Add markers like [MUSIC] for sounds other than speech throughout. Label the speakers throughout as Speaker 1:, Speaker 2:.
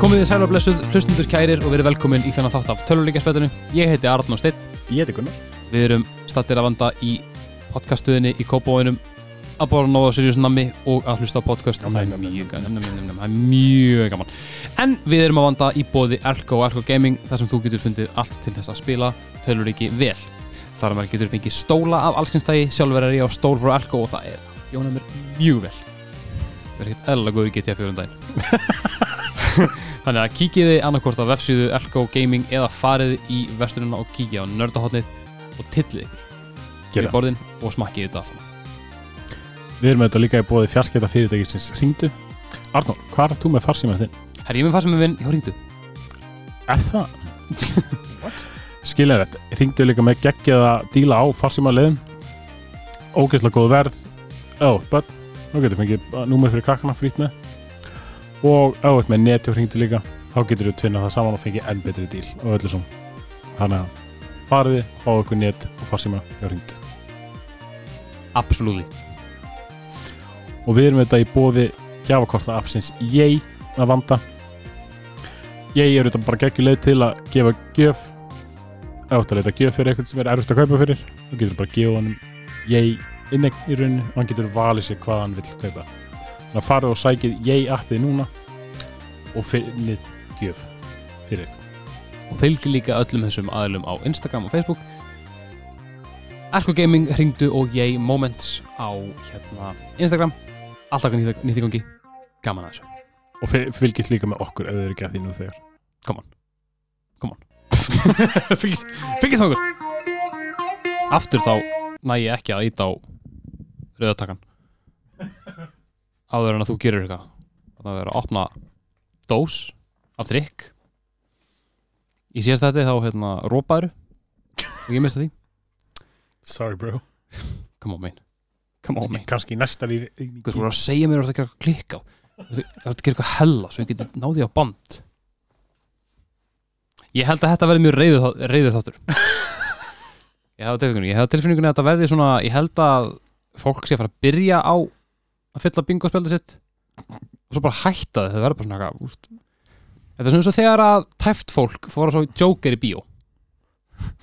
Speaker 1: Komið þið sæl og blessuð, hlustundur kærir og verið velkomin í þennan þátt af töluleikjarspætinu. Ég heiti Arnó Steinn,
Speaker 2: Ég heiti Gunnar
Speaker 1: við erum stattir að vanda í podcastuðinni í Kópavóinum að bóra nóg á Sirius Nami og að hlusta á podcast.
Speaker 2: Nam,
Speaker 1: Það er
Speaker 2: nam, nam,
Speaker 1: mjög gaman, nam, nam, nam, nam, það er mjög gaman. En við erum að vanda í bóði Elko og Elko Gaming þar sem þú getur fundið allt til þess að spila töluleiki vel. Þar að maður getur fengið stóla af allskynstægi, sjálfur er ég á stól frá Elko og það er jónað mér mjög vel. Við erum ekkert eðla góður í GTA 4 um daginn. [LAUGHS] Þannig að kíkiði annarkvort á vefsíðu Elko Gaming eða farið í vestununa og kíkja á nördahotnið og tillið ykkur
Speaker 2: Gerið
Speaker 1: í borðin og smakkið þetta allt saman.
Speaker 2: Við erum auðvitað líka í bóði fjarskipta fyrirtækisins Ringdu Arnór, hvað er þú með farsíma þinn?
Speaker 1: Herri, ég með fara sem við vinn, ég hringdu.
Speaker 2: Er [LAUGHS] það? Skiljaði þetta Ringdu er líka með geggjaða díla á farsíma leiðum Ógeðslega góð verð Ó, börn Nú getur fengið eh, númer fyrir krakkana frýtt með Og ó, eitthvað með neti og ringdu líka Þá getur við tvinna það saman og fengið enn betri díl Og öllu svo Þannig að fariði, fá ykkur net og farsíma hjá ringdu
Speaker 1: Absolúli.
Speaker 2: og við erum þetta í bóði gjafakorta appsins Yay að vanda Yay er þetta bara geggjuleið til að gefa gjöf eða átt að leita gjöf fyrir eitthvað sem er erfitt að kaupa fyrir þá getur bara að gefa honum Yay inneign í rauninni og hann getur valið sér hvað hann vill kaupa þannig að farið og sækið Yay appið núna og finnið gjöf fyrir ykkur.
Speaker 1: Og fylgi líka öllum þessum aðlum á Instagram og Facebook. Elko Gaming, hringdu og ég moments á hérna Instagram. Alltaf nýtt nýtt í gangi. Gaman að þessu.
Speaker 2: og fyl- fylgist líka með okkur ef þau eru ekki að því nú þegar
Speaker 1: Come on. Come on. fylgist, fylgist þá okkur. Aftur þá næ ég ekki að íta á rauðatakan. Áður en að þú gerir eitthvað. Þannig að vera að opna dós af drikk. Í síðast þetta þá hérna rópaður. Og ég mista því.
Speaker 2: Sorry bro
Speaker 1: Come on mein. Come on mein.
Speaker 2: kannski í næsta lífi
Speaker 1: Hvað þú voru að segja mér að það gera eitthvað klikka á? Það er að gera eitthvað hella svo ég geti náði á band. Ég held að þetta verði mjög reyðu, reyðu þáttur. ég hef á tilfinningunni. Ég hef á tilfinningunni að þetta verði svona, ég held að fólk sé að fara að byrja á að fylla bingospjaldið sitt og svo bara hætta það. Það verður bara svona eitthvað, úst. Þetta er svona eins og þegar að tæft fólk fóra svo Joker í bíó.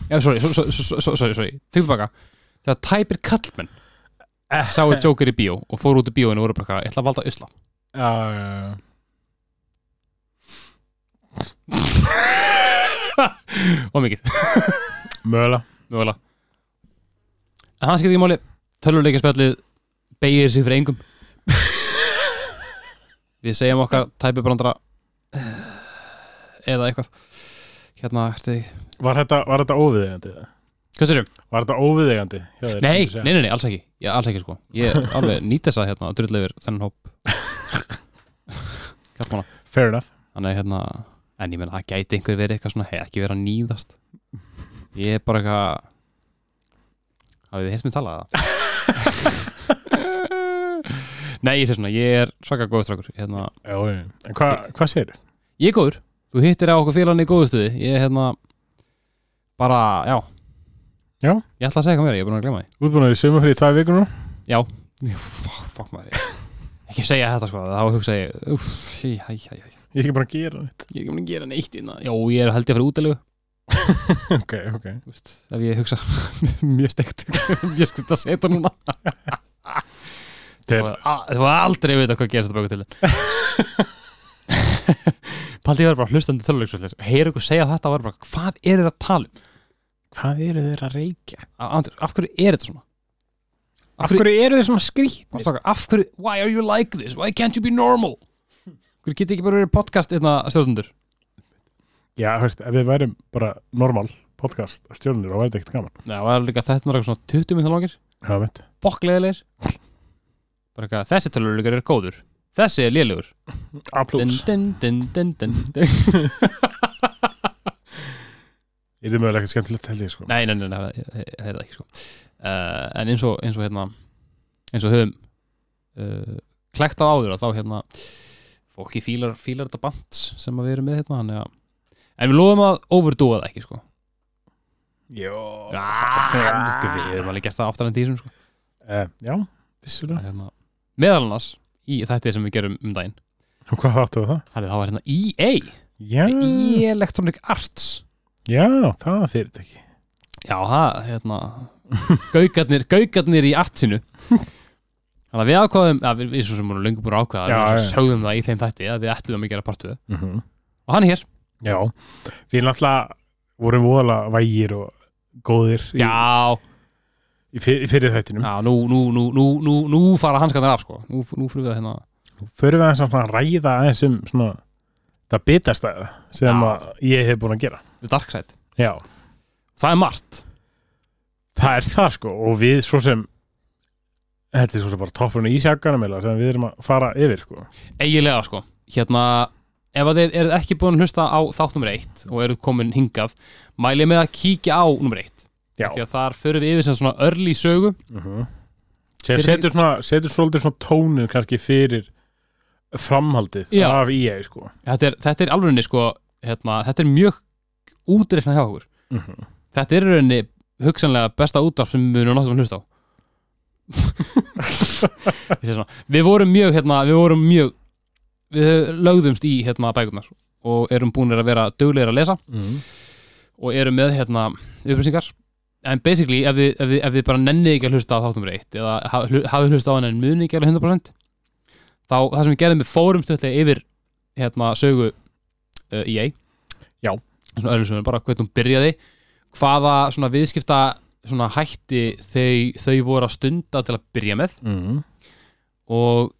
Speaker 1: Já, sorry, sorry, sorry, sorry, sorry, sorry. Tegum tilbaka. Þegar tæpir kallmenn sáu Joker í bíó og fóru út í bíóinu og voru bara eitthvað, ég ætla að valda usla
Speaker 2: Já, já, já.
Speaker 1: og mikið,
Speaker 2: Mögulega
Speaker 1: mögulega en hann skiptir í máli tölvuleikaspjallið beigir sig fyrir engum við segjum okkar tæpibrandara eða eitthvað hérna, ertu þig
Speaker 2: Var þetta, var þetta óviðeigandi? eða?
Speaker 1: hvað sérum?
Speaker 2: Var þetta óviðeigandi? hjá þér,
Speaker 1: Nei,
Speaker 2: myndirðu segja?
Speaker 1: nei, nei, nei, alls ekki, ég, alls ekki sko ég alveg nýt þess að hérna, að drulla yfir þennan hóp kallmána
Speaker 2: Fair enough
Speaker 1: Þannig hérna, en ég meina það gæti einhver verið eitthvað svona, hei ekki verið að nýðast Ég er bara eitthvað Hafið þið heyrt mér talað það? [LAUGHS] Nei, ég sé svona, ég er svaka góður strákur hérna,
Speaker 2: Já, já. En hva, hvað sér?
Speaker 1: Ég er góður, þú hittir á okkur félaginni í góðustuði Ég er hérna bara, já
Speaker 2: Já.
Speaker 1: Ég ætla að segja hvað mér, ég er búin að glemma því
Speaker 2: Útbúnaði sumar fyrir tvær vikur nú
Speaker 1: Fuck, fuck maður, ég Ekki segja þetta sko, þá hugsa ég Uff, sí, hæ, hæ, hæ
Speaker 2: Ég er ekki bara að gera þetta
Speaker 1: Ég er ekki búin að gera neitt innan Jó, ég er held ég að fara út
Speaker 2: Ok, ok
Speaker 1: Þú veist, ef ég hugsa [LAUGHS] mjög steikt [LAUGHS] mjög skutt að setja núna
Speaker 2: [LAUGHS] Þeir,
Speaker 1: Þú- a- þú var aldrei að vita hvað gerist þetta baka til
Speaker 2: [LAUGHS]
Speaker 1: Paldi ég var bara hlustandi töluleiksvöldis og heyra ykkur segja þetta og var bara hvað er þetta að tala um?
Speaker 2: Hvað eru þeir að reykja?
Speaker 1: A- Andri, af hverju er þetta svona? Af
Speaker 2: Af
Speaker 1: hverju,
Speaker 2: hverju eru þeir svona skrýtnir?
Speaker 1: af, af hverju, why are you like this? Why can't you be normal? Af Hverju geti ekki bara verið podcast hérna, einna stjórnundur?
Speaker 2: Já, hörst, ef við værum bara normal podcast stjórnir og væri þetta ekkert gaman
Speaker 1: Nei, það var líka þetta var eitthvað svona 20 minn langir
Speaker 2: Já, veit
Speaker 1: bokkleðilegir bara eitthvað, þessi töluleikar er góður þessi er lélugur
Speaker 2: A plus
Speaker 1: dun, dun, dun, dun, dun. [LAUGHS]
Speaker 2: Ég er mögulega ekki skemmtilegt held ég sko
Speaker 1: Nei, nei, nei, nei, það það- það er það ekki sko. uh, En eins og, eins og hérna eins og höfum uh, klækt á áður að þá hérna fólki fílar, fílar þetta band sem að við erum með hérna þannig að En við lofum að overdúa það ekki sko
Speaker 2: Jó
Speaker 1: ah, Við erum alveg gert það aftar en tísum sko
Speaker 2: Eh, Já,
Speaker 1: En
Speaker 2: vissulega
Speaker 1: hérna, Meðal annars í þætti sem við gerum um daginn
Speaker 2: Og hvað áttu það?
Speaker 1: Herri, það var hérna EA
Speaker 2: Já,
Speaker 1: EA Electronic Arts
Speaker 2: já það er fyrirtæki.
Speaker 1: Já, það, hérna Gaukarnir, gaukarnir í artinu Þannig að við ákvaðum að við, við svo sem vorum löngu búin að ákvaða
Speaker 2: Já,
Speaker 1: við svo
Speaker 2: já.
Speaker 1: sögðum það í þeim þætti að við ætluðum að gera partuðu
Speaker 2: Mm -hmm.
Speaker 1: og hann er hér
Speaker 2: Já, við náttúrulega vorum voðalega vægir og góðir í,
Speaker 1: Já,
Speaker 2: í, fyr, í fyrir þættinum.
Speaker 1: já nú, nú, nú, nú, nú, nú fara hanskarnar af sko Nú, nú fyrir við að hérna
Speaker 2: Förum við aðeins að svona ræða aðeins um svona það bitastæða sem
Speaker 1: Já.
Speaker 2: að ég hef búin að gera.
Speaker 1: The Dark Side
Speaker 2: Já,
Speaker 1: Það er margt
Speaker 2: það er það sko og við svo sem þetta er svo sem bara toppurinn í ísjakanum eða sem við erum að fara yfir sko.
Speaker 1: eiginlega sko hérna, ef að þið eruð ekki búin að hlusta á þátt nummer eitt og eruð komin hingað mælið með að kíkja á nummer eitt
Speaker 2: Já.
Speaker 1: því að þar förum við yfir sem svona örli sögu
Speaker 2: Mm -hmm. Sem
Speaker 1: Fyrir-
Speaker 2: setur, svona, setur svolítið svona tónu kannski fyrir framhaldið
Speaker 1: Já.
Speaker 2: af EA sko.
Speaker 1: þetta er, þetta er alveg sko, hérna, þetta er mjög útreikna hjá okkur
Speaker 2: mm
Speaker 1: þetta er í rauninni hugsanlega besta útvarp sem við munum náttúrulega hlusta á Ég segi svona, við vorum mjög hérna, við vorum mjög við lögðumst í hérna bækurnar og erum búinir að vera duglegir að lesa og eru með hérna upplýsingar en basically ef þið, ef þið, ef þið bara nennið ekki að hlusta á þáttum reitt eða ha- hlu- hafið hlusta á hann en munið ekki alveg 100% þá það sem við gerðum við fórum stöðlega yfir hérna sögu uh, EA
Speaker 2: Já.
Speaker 1: svona öðru sögur bara hvernig hún byrjaði hvaða svona viðskipta svona hætti þau, þau voru að stunda til að byrja með
Speaker 2: -hmm.
Speaker 1: og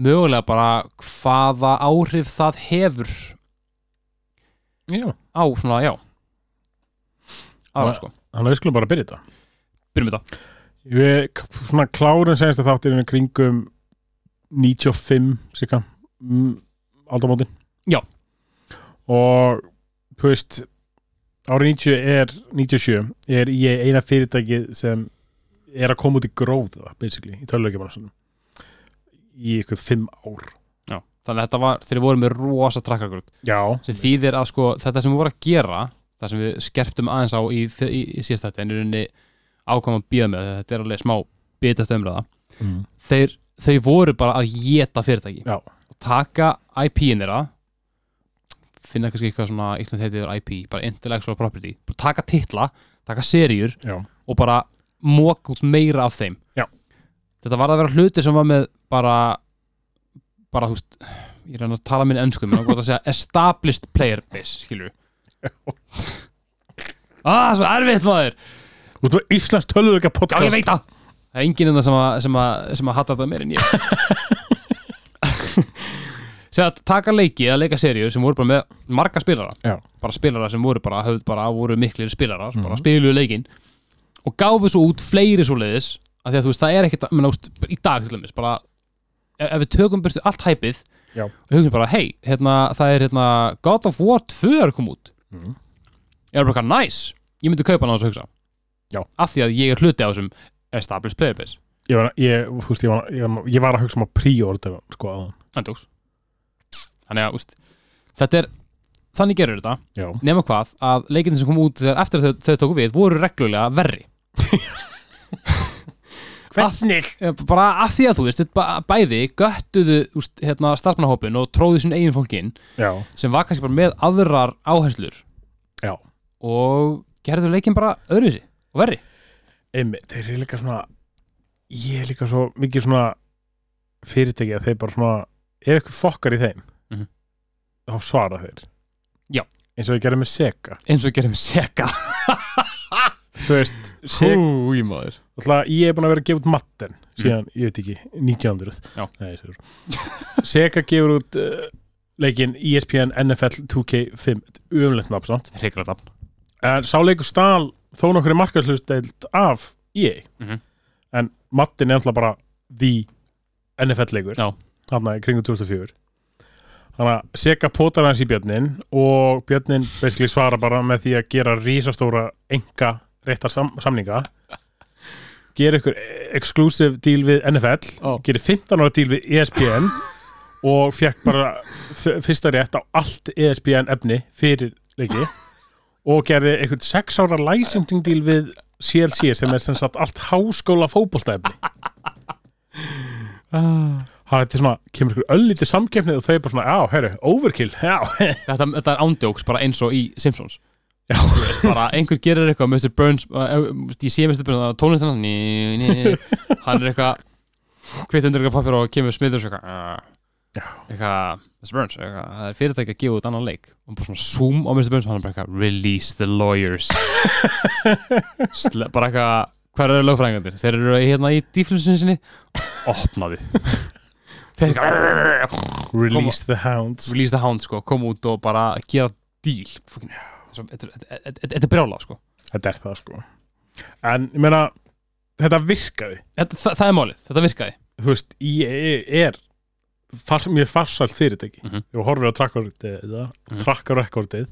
Speaker 1: mögulega bara hvaða áhrif það hefur
Speaker 2: Já,
Speaker 1: á svona, já aðra
Speaker 2: Og-
Speaker 1: sko,
Speaker 2: þannig að við skulum bara byrja þetta
Speaker 1: byrjum þetta
Speaker 2: Við k- svona klárum senast að þáttirinn kringum 95 sika mm, aldamótin
Speaker 1: Já.
Speaker 2: Og þú veist árið 90 er 97 er EA eina fyrirtækið sem er að koma út í gróða basically í töluleikjumann í ykkur 5 ár
Speaker 1: Já. Þannig að þetta var, þeir voru með rosa trakkargröð
Speaker 2: Já,
Speaker 1: sem þýðir að sko, þetta sem við vorum að gera það sem við skerptum aðeins á í, í, í síðastætti en í rauninni ákvæm að býða með því að þetta er alveg smá bitast umræða
Speaker 2: mm.
Speaker 1: þeir, þau voru bara að geta fyrirtæki
Speaker 2: Já.
Speaker 1: og taka IP-in þeirra finna kannski eitthvað svona eitthvað þetta er IP, bara intellectual property bara taka titla, taka seríur
Speaker 2: já,
Speaker 1: og bara mók út meira af þeim
Speaker 2: Já.
Speaker 1: þetta var að vera hluti sem var með bara bara þú veist ég reyna að tala minn ennsku minn og gott að segja established player base skilur ah, svo erfitt maður
Speaker 2: Þú ert með Íslands tölvuleika
Speaker 1: já
Speaker 2: podcast
Speaker 1: ég veit það það er enginn en það sem að, sem að, sem að hata þetta meir en ég segja að taka leiki eða leika serjur sem voru bara með marga spilara
Speaker 2: Já.
Speaker 1: bara spilara sem voru bara, höfð bara voru miklir spilarar,
Speaker 2: Mhm.
Speaker 1: bara spiluðu leikin og gáfu svo út fleiri svo leiðis af því að þú veist það er ekkit menn, veist, í dag til dæmis, bara e, ef, ef við tökum burtu allt hæpið
Speaker 2: Já.
Speaker 1: og hugum bara, hei, hérna, það er hérna, God of War 2 er kom út
Speaker 2: Mhm.
Speaker 1: ég er bara eitthvað næs ég myndi kaupa hann á þessu hugsa
Speaker 2: Já.
Speaker 1: af því að ég er hluti á þessum established player base
Speaker 2: Ég var, ég, þú veist, ég, var, ég, var, ég var að hugsa um að pre-order sko aðan
Speaker 1: Andjóks Þannig að, úst, þetta er þannig gerur þetta,
Speaker 2: Já,
Speaker 1: nema hvað að leikinni sem kom út þegar eftir að þau, þau tóku við voru reglulega verri
Speaker 2: hvernig?
Speaker 1: Eh, bara af því að þú veist, ba- bæði göttuðu úst, hérna, starfsmannahópin og tróðu sín eigin fólkin
Speaker 2: Já,
Speaker 1: sem var kannski bara með aðrar áherslur
Speaker 2: Já.
Speaker 1: og gerðu leikin bara öðruvísi og verri
Speaker 2: einmitt, þeir eru líka svona ég er líka svo mikið svona fyrirtæki að þeir bara svona ef eitthvað fokkar í þeim
Speaker 1: Mhm.
Speaker 2: þá svara þeir
Speaker 1: Já.
Speaker 2: eins og ég gerði með Sega
Speaker 1: eins og gerum seka
Speaker 2: Þú veist, Sega,
Speaker 1: Húi maður
Speaker 2: alltaf ég er búin að vera að gefa út matten síðan, ég veit ekki, 1900
Speaker 1: Mhm. Já.
Speaker 2: Nei, ég segi svo. Sega gefur út uh, leikinn E ESPN NFL 2K5 umlegt nafn samt
Speaker 1: Hryggrata
Speaker 2: en sá leikur stál þó nokkur markaðslusteild af EA
Speaker 1: Mhm.
Speaker 2: en mattin er alltaf bara the NFL leikur
Speaker 1: Já.
Speaker 2: þarna í kringum 2004 þannig að Sega potar hans í Björnin og Björnin basically svara bara með því að gera rísastóra enga réttar sam samninga gera ykkur exclusive deal við NFL
Speaker 1: Ó.
Speaker 2: gera 15 ára deal við E ESPN og fekk bara f- fyrsta rétt á allt E ESPN efni fyrir leiki og gerði einhvern sex ára læsingdingdíl við
Speaker 1: Ah.
Speaker 2: CLC sem er sem sagt allt háskóla fótboltaefni það er til svona, kemur ykkur öllítið samkeppnið og þau bara svona, já, herru, overkill já, [LAUGHS]
Speaker 1: þetta, þetta er ándjóks bara eins og í Simpsons Já. bara einhver gerir eitthvað Mr. Burns, uh, uh, ég sé Mr. Burns tónlistan hann ný, ný, hann er eitthvað hvitt undir eitthvað pappir og kemur smiður eitthvað,
Speaker 2: Já.
Speaker 1: uh, eitthvað Mr. Burns, eitthvað, það er fyrirtæki að gefa út annan leik og bara svona zoom á Mr. Burns og hann er bara eitthvað release the lawyers Sle, bara eitthvað hver eru lögfræðingandir, þeir eru hérna í dýflusin sinni, opnaði þeir eitthvað
Speaker 2: release the hounds
Speaker 1: release the hound sko, koma út og bara gera díl þetta er brjála sko
Speaker 2: þetta er það, sko en, ég meina, þetta virkaði
Speaker 1: þetta, það, það er málið, þetta virkaði
Speaker 2: þú veist, ég er far, mjög farsalt fyrirtæki
Speaker 1: Mhm.
Speaker 2: ég horfir á trakkarrekordið
Speaker 1: Mhm.
Speaker 2: trakkarrekordið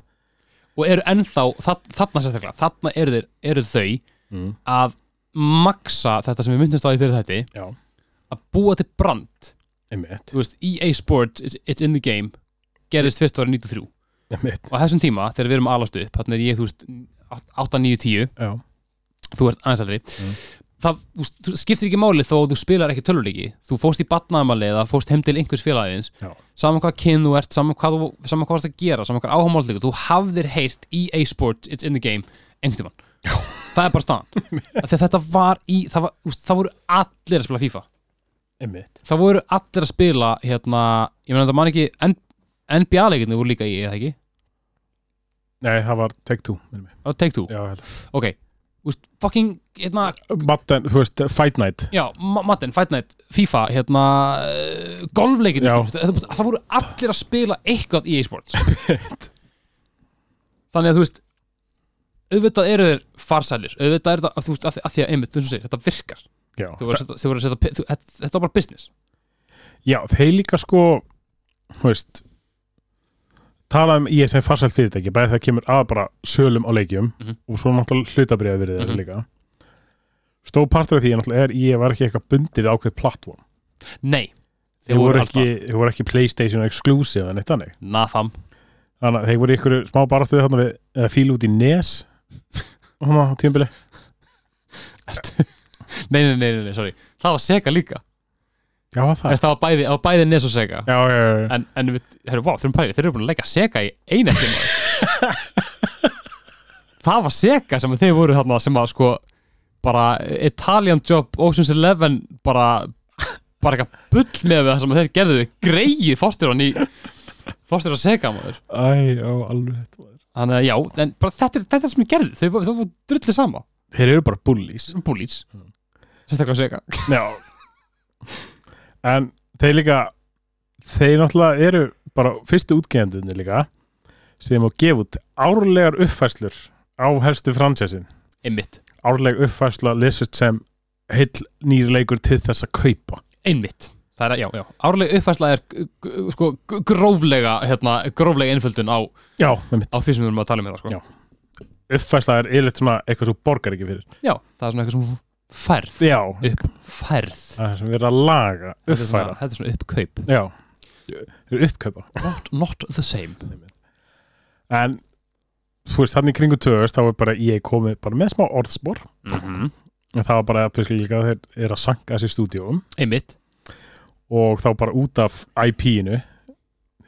Speaker 1: og eru ennþá, það, þarna sérstaklega þarna eru, þeir, eru þau
Speaker 2: mm.
Speaker 1: að maksa þetta sem við myndumst á í fyrir þætti
Speaker 2: já,
Speaker 1: að búa til brand
Speaker 2: einmitt,
Speaker 1: þú veist, EA Sports, it's, it's in the game gerist fyrst ára 93
Speaker 2: einmitt
Speaker 1: og á þessum tíma, þegar við erum alast upp þannig er ég, þú veist, 8, 9, 10
Speaker 2: já,
Speaker 1: þú ert aðeins aldrei
Speaker 2: Mm.
Speaker 1: það þú veist, þú skiptir ekki máli þó að þú spilar ekki töluleiki þú fórst í batnaðamali eða fórst heim til einhvers félagiðins
Speaker 2: Já.
Speaker 1: saman hvað kyn þú ert, saman hvað þú saman hvað þú ert að gera, saman hvað áhámáldegur þú hafðir heyrt EA Sports, It's in the Game einhvern tímann, það er bara
Speaker 2: [LAUGHS]
Speaker 1: staðan Af því að þetta var í, það, var, þú veist, það voru allir að spila FIFA
Speaker 2: einmitt
Speaker 1: það voru allir að spila hérna, ég meina þetta man ekki N- NBA leikinu voru líka í, eða ekki
Speaker 2: nei, það var take two minnir mig.
Speaker 1: það var Take Two,
Speaker 2: já, ég held að.
Speaker 1: ok Þú veist, fucking, hérna,
Speaker 2: Madden, Uh, þú veist, fight night
Speaker 1: Já, Ma- Madden, Fight Night, FIFA, hérna, uh, golfleikin,
Speaker 2: Já.
Speaker 1: það, það voru allir að spila eitthvað í
Speaker 2: [LAUGHS]
Speaker 1: e-sports. Þannig að þú veist, auðvitað eru þeir farsælir, auðvitað eru þetta, að þú veist, að, því- að því að einmitt, þú veist, segir, þetta virkar.
Speaker 2: já,
Speaker 1: Þú voru að setja, þú voru að setja, pe- þú, þetta- þetta var bara business.
Speaker 2: Já, þeir líka sko þú veist talað um ég sem farsælt fyrirtæki bæði það kemur að bara sölum á leikjum
Speaker 1: Mhm.
Speaker 2: og svo náttúrulega hlutabriða verið þeirra
Speaker 1: Mhm.
Speaker 2: líka Stór partur af því er náttúrulega er ég var ekki eitthvað bundið við ákveð plattform
Speaker 1: Nei,
Speaker 2: þeir voru
Speaker 1: alls
Speaker 2: ekki, þeir voru ekki Playstation exclusive en eitt þannig
Speaker 1: staðar. Nafam.
Speaker 2: þannig að þeir voru í ykkur smá baráttu þarna við eða fíl út í [LAUGHS] nes hann á tímbili
Speaker 1: Nei, nei, nei, nei, nei, sorry. Það var Sega líka.
Speaker 2: Já, var það
Speaker 1: Þess, það var bæði, það var bæði Nes og Sega.
Speaker 2: Já, já, já, já.
Speaker 1: En, en við, herru, vá, þurfum pæli, þeir eru búin að leggja Sega í eina tíma Það var Sega sem þeir voru þarna sem að sko bara Italian Job, Ocean's Eleven bara, bara eitthvað bull með það sem að þeir gerðu greið fórstjóran í fórstjóran Sega maður
Speaker 2: Æ, já, alveg þetta var
Speaker 1: Þannig að já, en bara þetta, er- þetta er sem ég gerðu þau voru, þau voru drullið sama
Speaker 2: Þeir eru bara bullies
Speaker 1: sem búlíts
Speaker 2: Mm.
Speaker 1: Sérstaklega Sega
Speaker 2: Já En þeir líka þeir náttúrulega eru bara fyrstu útgeðendunni líka sem á gefa út árlegar uppfæslur á helstu fransessin
Speaker 1: Einmitt,
Speaker 2: árleg uppfæsla lesist sem heill nýr leikur til þess að kaupa
Speaker 1: einmitt Það er að, já, já, árlega uppfærsla er g- g- sko g- gróflega, hérna, gróflega einföldun á
Speaker 2: Já, með mitt
Speaker 1: á því sem við erum að tala um þetta sko.
Speaker 2: Já. Uppfæsla er yfirleitt svona eitthvað sem þú borgar ekki fyrir
Speaker 1: Já, það er svona eitthvað sem færð
Speaker 2: Já,
Speaker 1: færð
Speaker 2: það er sem verið að laga,
Speaker 1: Þetta er svona,
Speaker 2: uppfæra
Speaker 1: þetta er svona uppkaup
Speaker 2: Já, þeir eru uppkaupa
Speaker 1: not, not the same
Speaker 2: En þú veist, þannig kringu töðust þá er bara ég komið bara með smá orðspor
Speaker 1: mm
Speaker 2: Mhm.
Speaker 1: -hmm.
Speaker 2: en það var bara að pluss líka að þeir eru að sanka þessi stúdíum
Speaker 1: Einmitt
Speaker 2: og þá bara út af IP-inu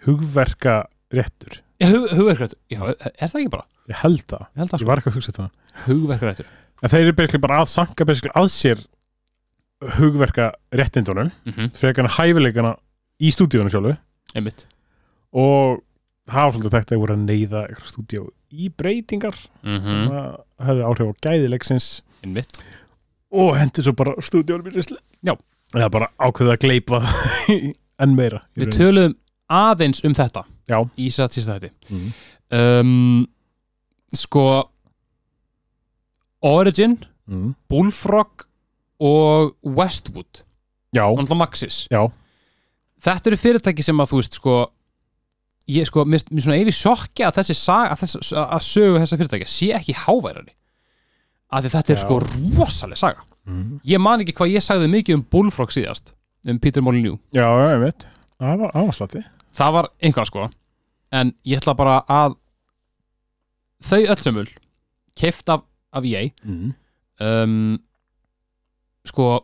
Speaker 2: hugverka réttur
Speaker 1: Já, hug, Hugverkrættur, já, er það ekki bara?
Speaker 2: ég held það,
Speaker 1: Ég held það
Speaker 2: ég
Speaker 1: sko
Speaker 2: var ekki að hugsa þetta
Speaker 1: Hugverkrættur
Speaker 2: en þeir eru basically bara að sanka basically að sér hugverka réttindunum
Speaker 1: mm -hmm.
Speaker 2: frekar en hæfileikana í stúdíunum sjálfu
Speaker 1: Einmitt
Speaker 2: og það var svolítið þetta að voru að neyða eitthvað stúdíu í breytingar
Speaker 1: mm
Speaker 2: sem að höfðu áhrif á gæðilegsins
Speaker 1: Einmitt
Speaker 2: og hendi svo bara stúdíunum í risli já, það er bara ákveðið að gleipa enn meira [LAUGHS] í
Speaker 1: Við
Speaker 2: rauninni.
Speaker 1: töluðum aðeins um þetta
Speaker 2: Já.
Speaker 1: Í satt sísta þetta
Speaker 2: Mhm.
Speaker 1: um, Sko Origin,
Speaker 2: mm.
Speaker 1: Bullfrog og Westwood
Speaker 2: já,
Speaker 1: og náttúrulega Maxis
Speaker 2: Já.
Speaker 1: Þetta eru fyrirtæki sem að þú veist sko ég sko, mér mér svona eiri sjokki að þessi saga, að, þess, að sögu þessa fyrirtæki sé ekki háværari af því þetta er
Speaker 2: Já.
Speaker 1: sko rosaleg saga
Speaker 2: mm.
Speaker 1: ég man ekki hvað ég sagði mikið um Bullfrog síðast um Peter Molyneux
Speaker 2: Já, já, ég veit Það var áherslátti
Speaker 1: það var einhvað sko en ég ætla bara að þau öll sömul E keift af, af ég
Speaker 2: mm.
Speaker 1: um, sko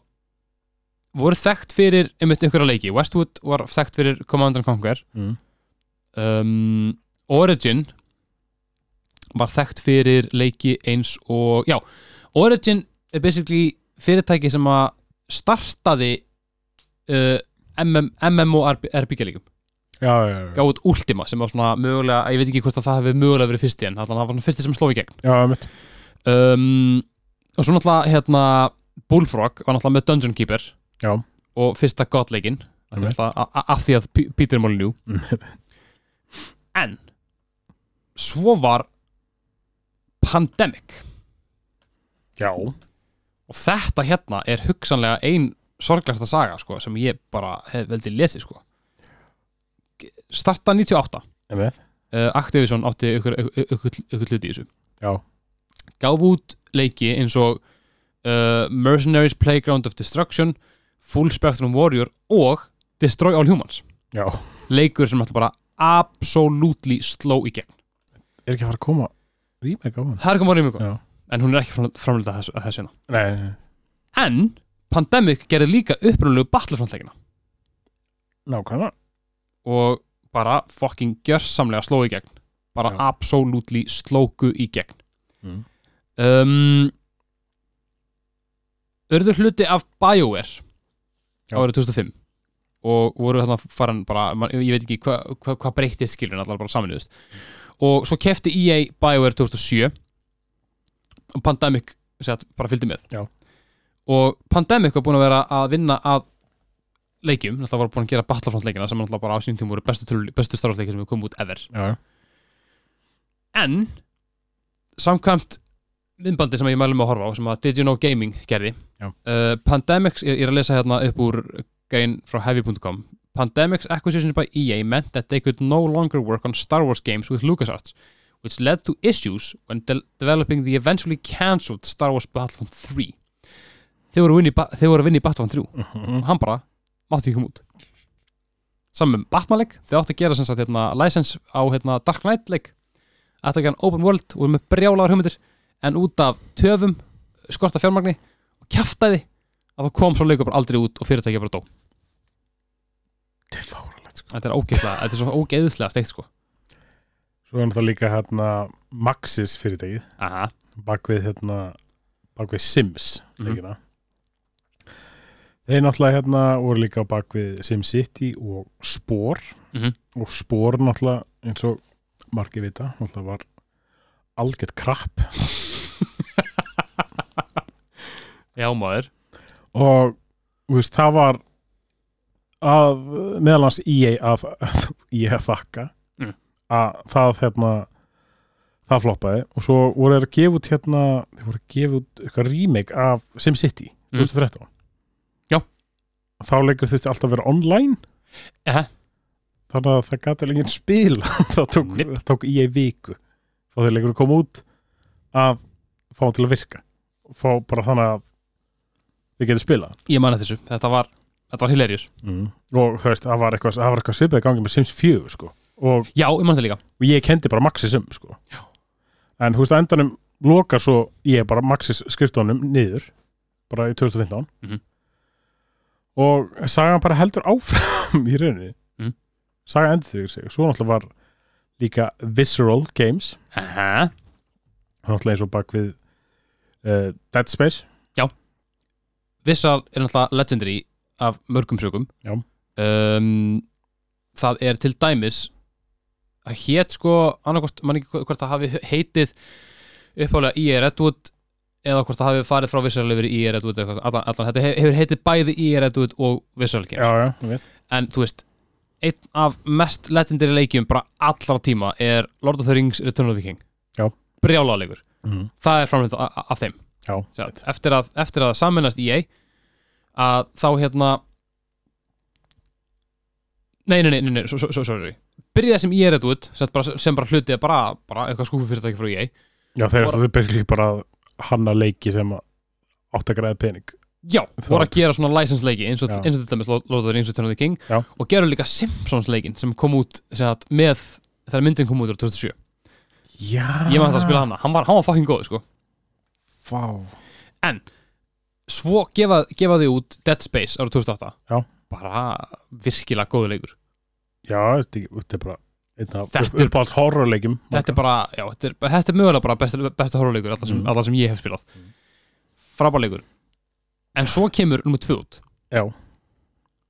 Speaker 1: voru þekkt fyrir einmitt einhverja leiki Westwood var þekkt fyrir Command and Conquer
Speaker 2: mm.
Speaker 1: um, Origin var þekkt fyrir leiki eins og já, Origin er basically fyrirtæki sem að startaði uh, MM, MMORPG leikum
Speaker 2: já, já, já, já,
Speaker 1: gátt Ultima sem var svona mögulega ég veit ekki hvort að það hefði mögulega verið fyrst í en þannig að það var svona fyrsti sem sló í gegn
Speaker 2: já, einmitt.
Speaker 1: um, og svo náttúrulega hérna, Bullfrog var náttúrulega með Dungeon Keeper
Speaker 2: já,
Speaker 1: og fyrsta godleikin
Speaker 2: Einmitt.
Speaker 1: af því að P- Peter Molyneux
Speaker 2: Mm.
Speaker 1: en svo var Pandemic
Speaker 2: já,
Speaker 1: og þetta hérna er hugsanlega ein sorglegasta saga sko, sem ég bara hef veldi lesið sko. starta 98
Speaker 2: einmitt.
Speaker 1: uh, Activision átti ykkur, ykkur, ykkur, ykkur hluti í þessu
Speaker 2: Já.
Speaker 1: gáf út leiki eins og uh, Mercenaries Playground of Destruction Full Spectrum Warrior og Destroy All Humans
Speaker 2: já
Speaker 1: leikur sem ætla bara absolutely sló í gegn
Speaker 2: er ekki að fara að koma remake á hann
Speaker 1: það er komað rýmjöku
Speaker 2: Já.
Speaker 1: en hún er ekki fram- framleidd að þessu, að þessu hérna.
Speaker 2: nei, nei, nei.
Speaker 1: en Pandemic gerði líka upprunalegu Battlefront leikina
Speaker 2: nákvæmlega
Speaker 1: og bara fucking gjörsamlega sló í gegn bara
Speaker 2: Já.
Speaker 1: absolutely slóku í gegn
Speaker 2: Mm.
Speaker 1: um, Örðu hluti af BioWare
Speaker 2: Já.
Speaker 1: árið 2005 og voru þarna farin bara man- ég veit ekki hvað hva, hva breyttist skilur allar bara saminuðust og svo kefti EA BioWare 2007 og Pandemic sett, bara fylgdi með
Speaker 2: Já.
Speaker 1: og Pandemic var búin að vera að vinna að leikjum, náttúrulega var búin að gera Battlefront leikina sem náttúrulega bara á sínum tíma voru bestu, töl- bestu starfleiki sem við komum út ever
Speaker 2: já, já.
Speaker 1: en samkvæmt myndbandi sem ég mælum að horfa á sem að Did You Know Gaming gerði
Speaker 2: Já.
Speaker 1: uh, Pandemics, ég ég er að lesa hérna upp úr grein frá heavy.com Pandemics acquisitions by EA meant that they could no longer work on Star Wars games with LucasArts which led to issues when de developing the eventually cancelled Star Wars Battlefront 3 þeir voru að vinna í ba- þeir voru að vinna í Battlefront 3
Speaker 2: Mm-hmm.
Speaker 1: og hann bara mátti ekki koma út saman með Batman-leik þau áttu að gera sem sagt hérna license á hérna Dark Knight-leik ættu að gera hann open world og voru með brjálagar hugmyndir en út af töfum skorta fjármagni og kjaftaði að þá kom svo leikur bara aldrei út og fyrirtækja bara dó
Speaker 2: þetta er fáralegt sko.
Speaker 1: þetta er ógeðslega, þetta er svo ógeðslega steikt sko
Speaker 2: svo er náttúrulega líka hérna Maxis fyrirtækið
Speaker 1: aha,
Speaker 2: bak við hérna bak við Sims
Speaker 1: Mhm.
Speaker 2: leikina þeir náttúrulega hérna voru líka á bak við SimCity og Spor
Speaker 1: Mhm.
Speaker 2: og Spor náttúrulega eins og margir vita náttúrulega var algjört krapp
Speaker 1: já maður
Speaker 2: og þú veist, það var að meðal hans EA af EA að [LAUGHS] þakka
Speaker 1: Mm.
Speaker 2: að það hérna það floppaði og svo voru þeir að gefa út hérna, þeir voru að gefa út eitthvað remake af SimCity 2013
Speaker 1: Mm. Já.
Speaker 2: þá leikur þurfti alltaf að vera online
Speaker 1: Ehe.
Speaker 2: þannig að það gæti enginn spil [LAUGHS] það tók,
Speaker 1: Nei.
Speaker 2: það tók í ei viku þá þeir leikur að koma út að fá hann til að virka fá bara þannig að þið getur spila
Speaker 1: ég man eftir þessu, þetta var, þetta var hilarious
Speaker 2: mm. og þú veist, það var eitthvað, það var eitthvað svipað í gangi með Sims 4 sko. og,
Speaker 1: já, ég man þetta líka,
Speaker 2: og ég kendi bara Maxis um sko. en þú veist, á endanum lokar svo ég bara Maxis skriftónum niður bara í 2015
Speaker 1: Mhm.
Speaker 2: og sagan bara heldur áfram [LAUGHS] í rauninni
Speaker 1: Mhm.
Speaker 2: saga endur þig sig svo náttúrulega var líka Visceral Games
Speaker 1: aha,
Speaker 2: náttúrulega eins og bak við uh, Dead Space
Speaker 1: Vissal er náttúrulega legendary af mörgum sögum
Speaker 2: Já.
Speaker 1: um, Það er til dæmis að hét sko annarkost, mann ekki hvort það hafi heitið uppálega EA Redwood eða hvort það hafi farið frá Vissal yfir í EA Redwood eða eitthvað, allan, allan, þetta he- hefur heitið bæði EA Redwood og Vissal Games
Speaker 2: já, ég veit
Speaker 1: en þú veist einn af mest legendary leikjum bara allra tíma er Lord of the Rings Return of the King
Speaker 2: Já.
Speaker 1: brjálega leikur
Speaker 2: mm.
Speaker 1: það er framleitt a- a- af þeim
Speaker 2: já,
Speaker 1: Sjá, eftir að, eftir að saminast EA að þá hérna nei, nei, nei, nei, nei svo, svo, svo, sorry byrjaði sem E EA Redwood sem bara, sem bara hlutið bara, bara eitthvað skúfufyrirtæki frá E EA
Speaker 2: já þeir
Speaker 1: Bara-
Speaker 2: eru basically bara að hanna leiki sem að átt að græða pening
Speaker 1: já,
Speaker 2: Það-
Speaker 1: voru að gera svona license leiki eins og,
Speaker 2: Já.
Speaker 1: eins og þetta með Lóður eins og Tennið King
Speaker 2: Já.
Speaker 1: og gerðu líka Simpsons leikin sem kom út sem að, með þegar myndin kom út úr 2007
Speaker 2: Já
Speaker 1: ég maður þetta að spila hana, hann var, hann var fucking góð sko.
Speaker 2: Vá
Speaker 1: En svo gefa, gefa því út Dead Space árið 2008
Speaker 2: Já.
Speaker 1: bara virkilega góðu leikur
Speaker 2: Já, þetta er- þetta er bara einn af
Speaker 1: Þetta er-
Speaker 2: uppáhalds horrorleikjum
Speaker 1: þetta er bara, já, þetta er, þetta er mögulega bara besta, besta horrorleikur, allar sem,
Speaker 2: Mm.
Speaker 1: mm. sem ég hef spilað mm. frábærleikur en svo kemur nummer 2 út
Speaker 2: Já.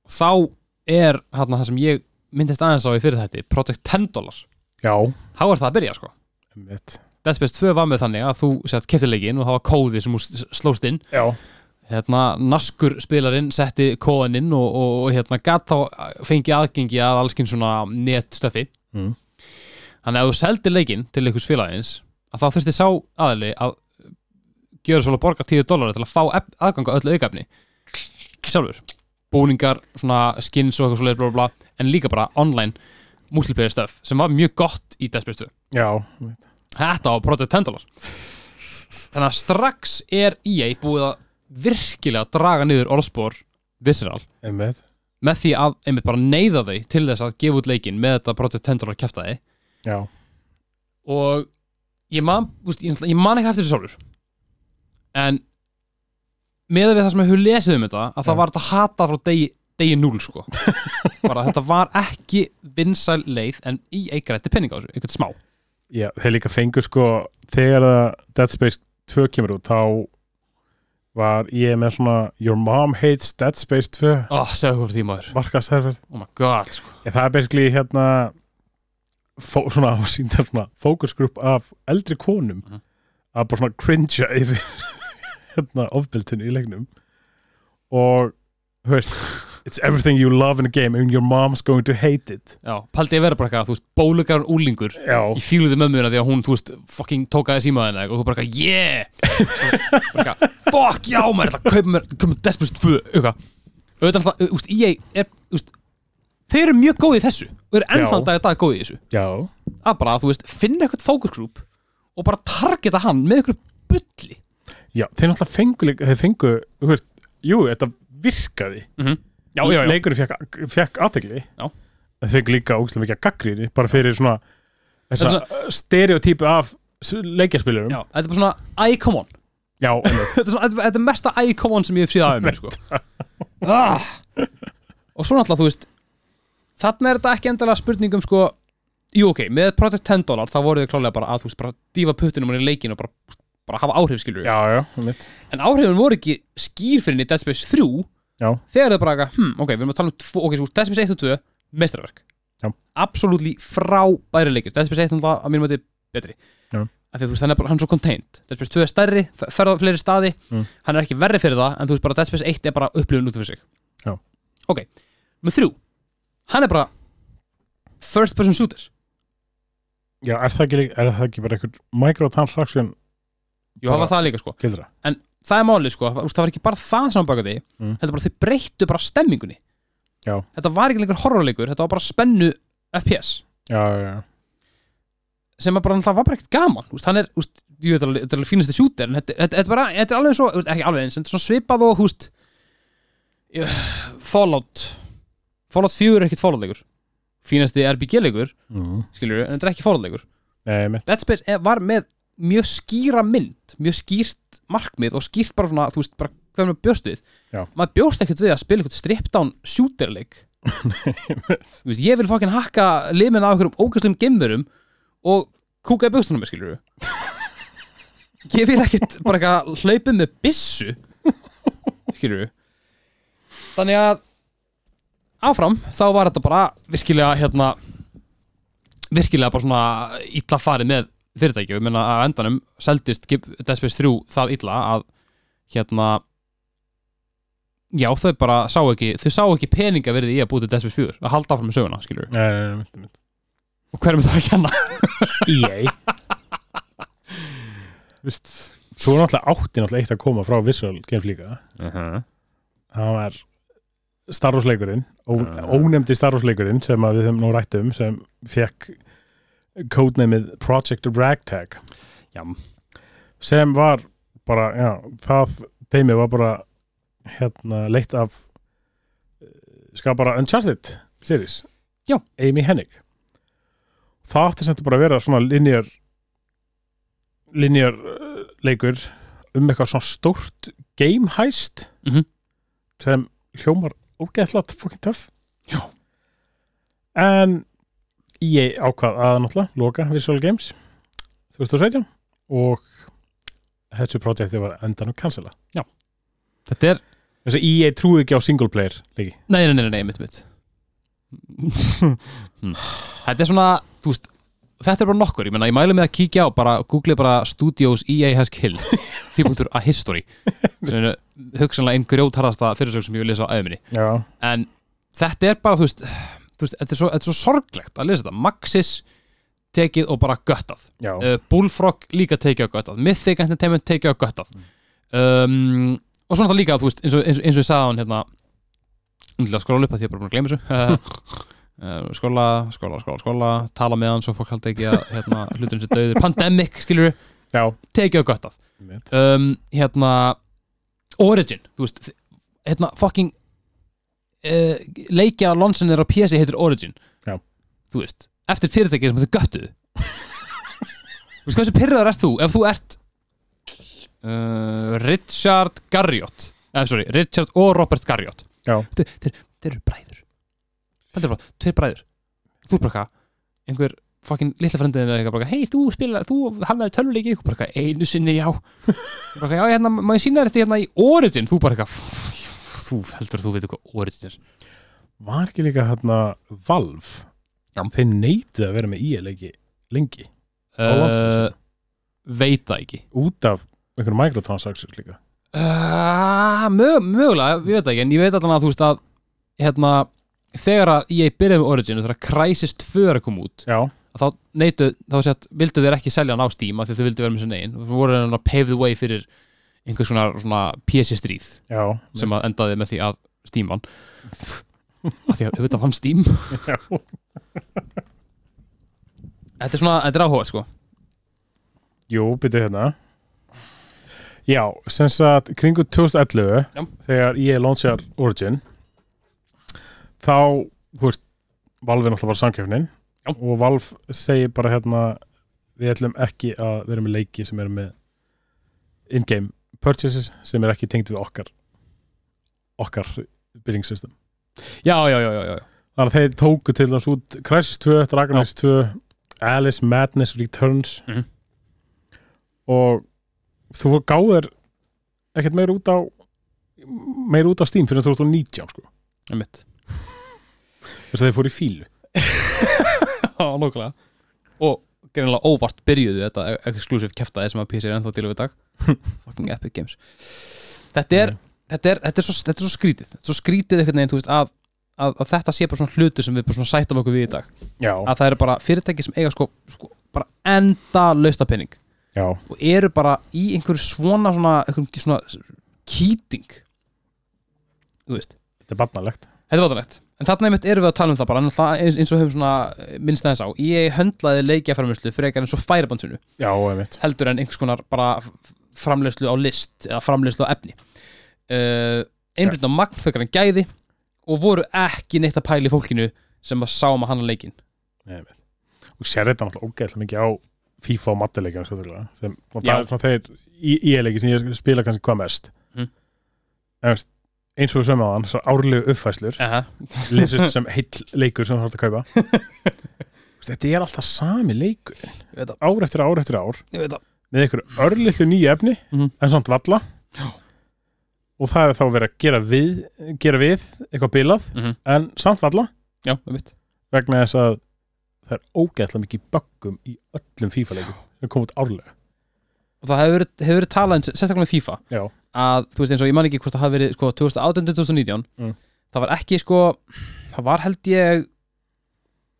Speaker 1: þá er hann það sem ég myndist aðeins á í fyrir þetta Project 10 dólar,
Speaker 2: Já,
Speaker 1: þá er það að byrja sko
Speaker 2: einmitt.
Speaker 1: Dead Space 2 var með þannig að þú sett keftileikinn og það var kóði sem þú s- slóst inn
Speaker 2: Já,
Speaker 1: hérna, naskur spilarinn setti kóðan inn og, og, og hérna, gat þá fengi aðgengi að allskinn svona netstöfi
Speaker 2: Mm.
Speaker 1: þannig að ef þú seldi leikinn til einhvers félagins að þá þurfti sá aðli að gjöra svolítið að borga 10 dólar til að fá ef- aðgang að öllu aukefni sjálfur, búningar, svona skins og eitthvað svolítið bla bla bla, en líka bara online multiplayer stöf sem var mjög gott í Death Space 2
Speaker 2: já, einmitt.
Speaker 1: Þetta var Project 10 dólar Þannig að strax er EA búið að virkilega draga niður orðspor Visceral
Speaker 2: einmitt.
Speaker 1: með því að einmitt bara neyða þau til þess að gefa út leikinn með þetta Project 10 dólar kæftæði
Speaker 2: Já,
Speaker 1: og ég man, úst, ég, ég man ekki eftir þessu sjálfur en með við það sem ég hefur lesið um þetta að það
Speaker 2: Já.
Speaker 1: var þetta hatað frá degi, degi 0 sko bara þetta var ekki vinsæl leið en E EA grætti penning á þessu, einhvern smá
Speaker 2: já, þeir líka fengur sko þegar að Dead Space 2 kemur út þá var ég með svona Your Mom Hates Dead Space 2
Speaker 1: oh, segðu hvað fyrir því maður,
Speaker 2: markaðsherfer
Speaker 1: oh my god sko.
Speaker 2: Ég, það er basically hérna fó, svona, [LAUGHS] síndar svona fókusgrúp af eldri konum
Speaker 1: Mhm.
Speaker 2: að bara svona cringea yfir [LAUGHS] hérna ofbildinu í leiknum og þú veist it's everything you love in a game and your mom's going to hate it
Speaker 1: Já, paldi ég vera bara eitthvað, þú veist, bólugarun úlingur
Speaker 2: Já,
Speaker 1: Ég fíluði mömmuna því að hún, þú veist, fucking tókaði símaðina og þú bara eitthvað, yeah bara eitthvað, fuck, já, maður, þetta kaupa mér kaupa mér Desperate 2, eitthvað auðvitað alltaf, þú veist, EA er, þú veist þeir eru mjög góðið þessu og eru
Speaker 2: Já.
Speaker 1: ennþá dag að dag góðið þessu
Speaker 2: já,
Speaker 1: að bara, þú veist, finna eitthvað focus group og bara targeta hann með eitthvað bulli
Speaker 2: já þeir náttúrulega fengu líka- þeir fengu, þú veist, jú, þetta virkaði
Speaker 1: Já, já, já,
Speaker 2: leikurinn fekk, fekk aðtegli
Speaker 1: Já.
Speaker 2: þeir fengu líka ógæslega mikið að gaggrinni bara fyrir svona þessa
Speaker 1: Þetta
Speaker 2: stereotypu af s- leikjaspilurum
Speaker 1: já, þetta er bara svona, æ, come on
Speaker 2: já einmitt.
Speaker 1: þetta er, svona, þetta- þetta er mesta icon sem ég hef síðan aðeins sko. [LAUGHS] ah. og svo náttúrulega þú veist þarna er þetta ekki endalega spurningum sko, jú ok, með Project 10 dólar þá voru þau klálega bara að þú veist bara dýfa puttunum hann í leikin og bara, bara hafa áhrif skilur
Speaker 2: Já, [LAUGHS] já, mitt
Speaker 1: en áhrifin voru ekki skýr fyrir henni í Dead Space 3
Speaker 2: Já.
Speaker 1: þegar þau bara eitthvað, hm, ok, við erum að tala um tvo, ok, sko, Dead Space 1 og 2, mestrarverk
Speaker 2: Já.
Speaker 1: absolutely frábæri leikir Dead Space 1 er náttúrulega að mínum að þetta betri
Speaker 2: Já.
Speaker 1: af því að þú veist, hann er bara hann er svo contained Dead Space 2 er stærri, fer- ferða á fleiri staði
Speaker 2: Mm.
Speaker 1: hann er ekki verri fyrir það, en þú veist bara Dead Space 1 er bara upplifun út af fyrir sig
Speaker 2: Já.
Speaker 1: ok, með þrjú hann er bara first person shooter
Speaker 2: Já, er það ekki, er það ekki bara einhver microtransaction
Speaker 1: jú, hafa
Speaker 2: Bara-
Speaker 1: það líka sko
Speaker 2: gildra?
Speaker 1: en það er málið sko, það þú veist, það var ekki bara það sem baka því,
Speaker 2: Mm.
Speaker 1: þetta bara þau breyttu bara stemmingunni
Speaker 2: Já.
Speaker 1: þetta var ekki lengur horrorleikur, þetta var bara spennu FPS,
Speaker 2: Já, já, já,
Speaker 1: sem að bara það var bara ekkert gaman, þú veist, hann er, þú veist, ég veit alveg þetta er alveg fínasti shooter, en þetta, þetta, þetta er bara þetta er alveg svo, þú veist, ekki alveg eins, en þetta er svona svipað og, þú veist ég- Fallout Fallout 4 er ekkert Fallout leikur fínasti RPG leikur,
Speaker 2: mm.
Speaker 1: skiljur en þetta er ekki Fallout leikur
Speaker 2: Nei, mitt,
Speaker 1: Dead Space er- var með mjög skýra mynd mjög skýrt markmið og skýrt bara svona, þú veist, bara hvað maður bjóst við
Speaker 2: Já.
Speaker 1: maður bjóst ekkert við að spila eitthvað strip-down shooterleik Þú veist, ég vil fokkin hakka limin af einhverjum ógæstum gemmurum og kúka í bjóstunum, skilur við ég vil ekkert bara eitthvað hlaupið með byssu skilur við þannig að áfram, þá var þetta bara virkilega hérna virkilega bara svona illa farið með fyrirtæki og ég meina að endanum seldist Gib- Dead Space 3 það illa að hérna já þau bara sá ekki þau sá ekki peninga verið í að búið til Dead Space 4 að halda áfram með söguna skilur
Speaker 2: nei, nei, nei, mitt, mitt.
Speaker 1: og hverjum er það að kenna
Speaker 2: [LAUGHS] EA Vist Svo er náttúrulega átti náttúrulega eitt að koma frá Visual Games líka Það var Star Wars leikurinn ó,
Speaker 1: Já.
Speaker 2: Ónefndi Star Wars leikurinn sem að við höfum nú rætt um sem fekk kódneimið Project Ragtag
Speaker 1: já,
Speaker 2: sem var bara, já, það teimi var bara hérna leitt af eh, skapara Uncharted series
Speaker 1: Já.
Speaker 2: Amy Hennig það átti sem þetta bara að vera svona linjar linjar eh, leikur um eitthvað svona stórt game heist
Speaker 1: Mhm.
Speaker 2: sem hljómar ógeðslega fucking töff
Speaker 1: Já.
Speaker 2: en ég ákvað að náttúrulega loka Visual Games 2017 og þessu projekti var endanum cancela
Speaker 1: Þetta er,
Speaker 2: þess að EA trúið E ekki á single player leiki
Speaker 1: nei, nei, nei, nei, mitt, mitt Hmm. Þetta er svona, þú veist Þetta er bara nokkur, ég meina, ég mælu með að kíkja á bara, googlið bara Studios EA has killed típunktur a history sem er hugsanlega einn grjótarasta fyrirsög sem ég vil lesa á æðminni
Speaker 2: Já.
Speaker 1: en þetta er bara, þú veist, þú veist þetta, er svo, þetta er svo sorglegt að lesa þetta Maxis tekið og bara göttað
Speaker 2: Já.
Speaker 1: uh, Bullfrog líka tekið á göttað Mythic Entertainment tekið á göttað um, og svona það líka þú veist, eins, og, eins, og, eins og ég sagði á hann hérna umlega skróla upp að því ég er bara búin að gleyma þessu [LAUGHS] Eh, uh, skóla, skóla, skóla, skóla tala með hann svo fólk haldi ekki að hérna, hlutin sem döður, pandemic skilur
Speaker 2: Já.
Speaker 1: tekið á göttað
Speaker 2: Einmitt.
Speaker 1: um, hérna Origin, þú veist þi- hérna fucking uh, leikja lonsin er á PC heitir Origin
Speaker 2: Já.
Speaker 1: þú veist, eftir fyrirtækið sem þau göttuðu þú veist hversu pyrraður ert þú ef þú ert uh, Richard Garriott eh, sorry, Richard og Robert Garriott
Speaker 2: Já.
Speaker 1: þeir, þeir, þeir eru bræður þetta er bara, tveir bræður þú er bara eitthvað, einhver fucking litla frendiðin er eitthvað bara, hei, þú spila, þú hafnaði tölvuleiki, þú bara eitthvað, einu sinni, já Ég bara, eitthvað, já, hérna, má ég sína þér þetta hérna í Origin þú bara eitthvað, þú heldur þú veit hvað Origin er
Speaker 2: Var ekki líka hérna Valve
Speaker 1: Já.
Speaker 2: Þeir neitið að vera með EA leiki lengi á landsfyrsum
Speaker 1: Uh, veit það ekki
Speaker 2: út af einhverjum microtransactions líka
Speaker 1: uh, mög, mögulega, ég veit það ekki en ég veit allan að þú veist að hérna, þegar að ég byrjaði með Origin og þegar að Crysis 2 er að koma út
Speaker 2: Já,
Speaker 1: að þá neytu, þá sett, vildu þeir ekki selja hann á Steam af því að þau vildu vera með sér negin og þú voru hann að pave the way fyrir einhvers svona, svona PC stríð
Speaker 2: já
Speaker 1: sem að endaði með því að Steam vann af því að auðvitað vann Steam
Speaker 2: Já,
Speaker 1: þetta er svona, þetta er áhuga sko
Speaker 2: Jú, byrju hérna Já, sem sagt kringu 2011
Speaker 1: Já.
Speaker 2: þegar EA launchar Origin þá þú veist, Valve er náttúrulega bara samkjöfnin
Speaker 1: Já.
Speaker 2: og Valve segir bara hérna við ætlum ekki að vera með leiki sem eru með in-game purchases sem er ekki tengd við okkar okkar billing system
Speaker 1: já, já, já, já, já.
Speaker 2: þannig að þeir tóku til þess út Crysis 2, Dragon Age 2 Alice Madness Returns
Speaker 1: Mhm.
Speaker 2: og þú gáðir ekkert meir út á meir út á Steam fyrir 2019 sko.
Speaker 1: [LAUGHS] einmitt
Speaker 2: þess að þeir fóru í fílu
Speaker 1: já, nokkulega og gerðinlega óvart byrjuðu þetta e- exclusive keftaði sem að PC er ennþá til og [LAUGHS] við dag fucking Epic Games þetta er, þetta er, þetta er, svo, þetta er svo skrítið þetta er svo skrítið einhvern veginn, þú veist, að, að, að þetta sé bara svona hlutu sem við bara svona sættum okkur við í dag
Speaker 2: já,
Speaker 1: að það eru bara fyrirtæki sem eiga sko, sko bara enda lausta penning
Speaker 2: já,
Speaker 1: og eru bara í einhverju svona svona, einhverjum svona kýting þú veist
Speaker 2: þetta er barnalegt
Speaker 1: Þetta var þannig En þarna einmitt erum við að tala um það bara en það eins, eins og höfum svona eh, minnst aðeins á Ég höndlaði leikjaframleyslu frekar eins og færabandsunu
Speaker 2: já, einmitt
Speaker 1: heldur en einhvers konar bara f- framleyslu á list eða framleyslu á efni uh, Einblýnd á magn frekar en gæði og voru ekki neitt að pæla í fólkinu sem að sáum að hanna leikin
Speaker 2: einmitt. og sér þetta náttúrulega ógeðlega mikið á FIFA og mateleikjum sem og
Speaker 1: Já.
Speaker 2: það er svona þeir í, í leiki sem ég spila kannski hvað mest
Speaker 1: Mhm.
Speaker 2: En, veist, eins og við sögum á hann, svo árlegu uppfæslur
Speaker 1: uh -huh.
Speaker 2: lesist sem heill leikur sem þú þarf að kaupa Þú
Speaker 1: [LAUGHS]
Speaker 2: veist, Þetta er alltaf sami leikur
Speaker 1: Ég veit það,
Speaker 2: ár eftir ár eftir ár
Speaker 1: ég veit það
Speaker 2: með einhverju örlillu nýju efni
Speaker 1: Mhm.
Speaker 2: en samt valla
Speaker 1: Já.
Speaker 2: og það er þá verið að gera við, gera við eitthvað bilað
Speaker 1: Mhm.
Speaker 2: en samt valla
Speaker 1: Já, einmitt
Speaker 2: vegna þess að það er ógeðslega mikið böggum í öllum FIFA leikum sem kom út árlega
Speaker 1: Og það hefur verið- hefur verið talað um sérstaklega með FIFA
Speaker 2: Já,
Speaker 1: að þú veist eins og ég man ekki hvort það hafi verið sko, 2018-2019
Speaker 2: Mm.
Speaker 1: það var ekki sko það var held ég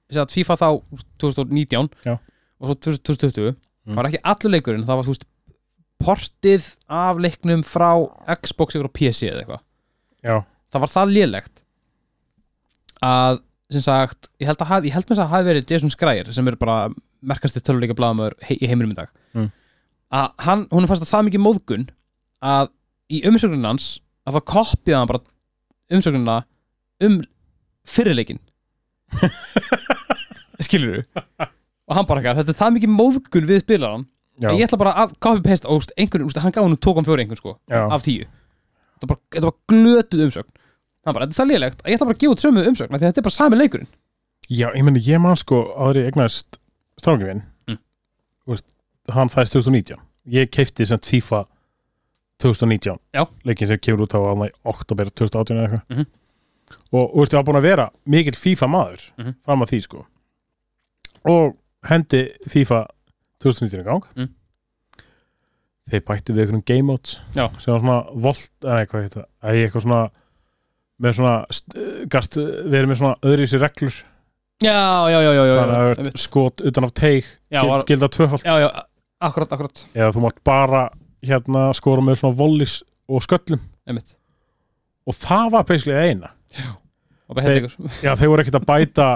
Speaker 1: sem sagt, FIFA þá 2019
Speaker 2: Já.
Speaker 1: og svo 2020
Speaker 2: Mm.
Speaker 1: það var ekki allur leikurinn það var þú veist portið af leiknum frá Xbox yfir á PC eða eitthvað
Speaker 2: já,
Speaker 1: það var það lélegt að sem sagt, ég held, að haf, ég held með þess að hafi verið Jason Skræðir sem er bara merkasti töluleika blaðamöður hei, í heiminum í dag
Speaker 2: Mm.
Speaker 1: að hann, hún fannst að það mikið móðgun að í umsögnin hans að það koppiða hann bara umsögnina um
Speaker 2: [LAUGHS]
Speaker 1: fyrirleikin skilur og hann bara ekki þetta er það mikið móðgun við spilaran
Speaker 2: já,
Speaker 1: En ég ætla bara að copy-paste óst einhvern, úst, hann gaf hann tókum fjóri einhvern sko
Speaker 2: já,
Speaker 1: af tíu Þetta var bara, þetta var glötuð umsögn Það bara, þetta er það liðlegt Ég ætla bara að gefa út sömu umsögn af því að Þetta er bara sami leikurinn
Speaker 2: já, ég meni ég man sko áður ég egnaðist strákið minn
Speaker 1: Mm.
Speaker 2: þú veist, hann fæðist 2019 ég keipti sem FIFA 2019
Speaker 1: Já.
Speaker 2: leikin sem kemur út á alveg oktober 2018 eða eitthvað
Speaker 1: Mhm.
Speaker 2: og þú veist, ég var búin að vera mikill FIFA maður
Speaker 1: Mhm.
Speaker 2: fram að því sko og hendi FIFA 2019 í gang
Speaker 1: Mm.
Speaker 2: þeir bættu við einhverjum game modes
Speaker 1: Já.
Speaker 2: sem var svona volt, eða eitthvað heita eða eitthvað svona með svona st- gast verið með svona öðru sér reglur
Speaker 1: Já, já, já, já, já, já,
Speaker 2: þannig að það
Speaker 1: einmitt.
Speaker 2: er skot utan af teig
Speaker 1: já,
Speaker 2: gild,
Speaker 1: var,
Speaker 2: gilda tvöfald
Speaker 1: já, já Akkurat, akkurat
Speaker 2: eða þú mátt bara hérna skora með svona vollis og sköllum
Speaker 1: Einmitt
Speaker 2: og það var basically það eina
Speaker 1: Og bara hellingur
Speaker 2: já þeir voru ekkert að bæta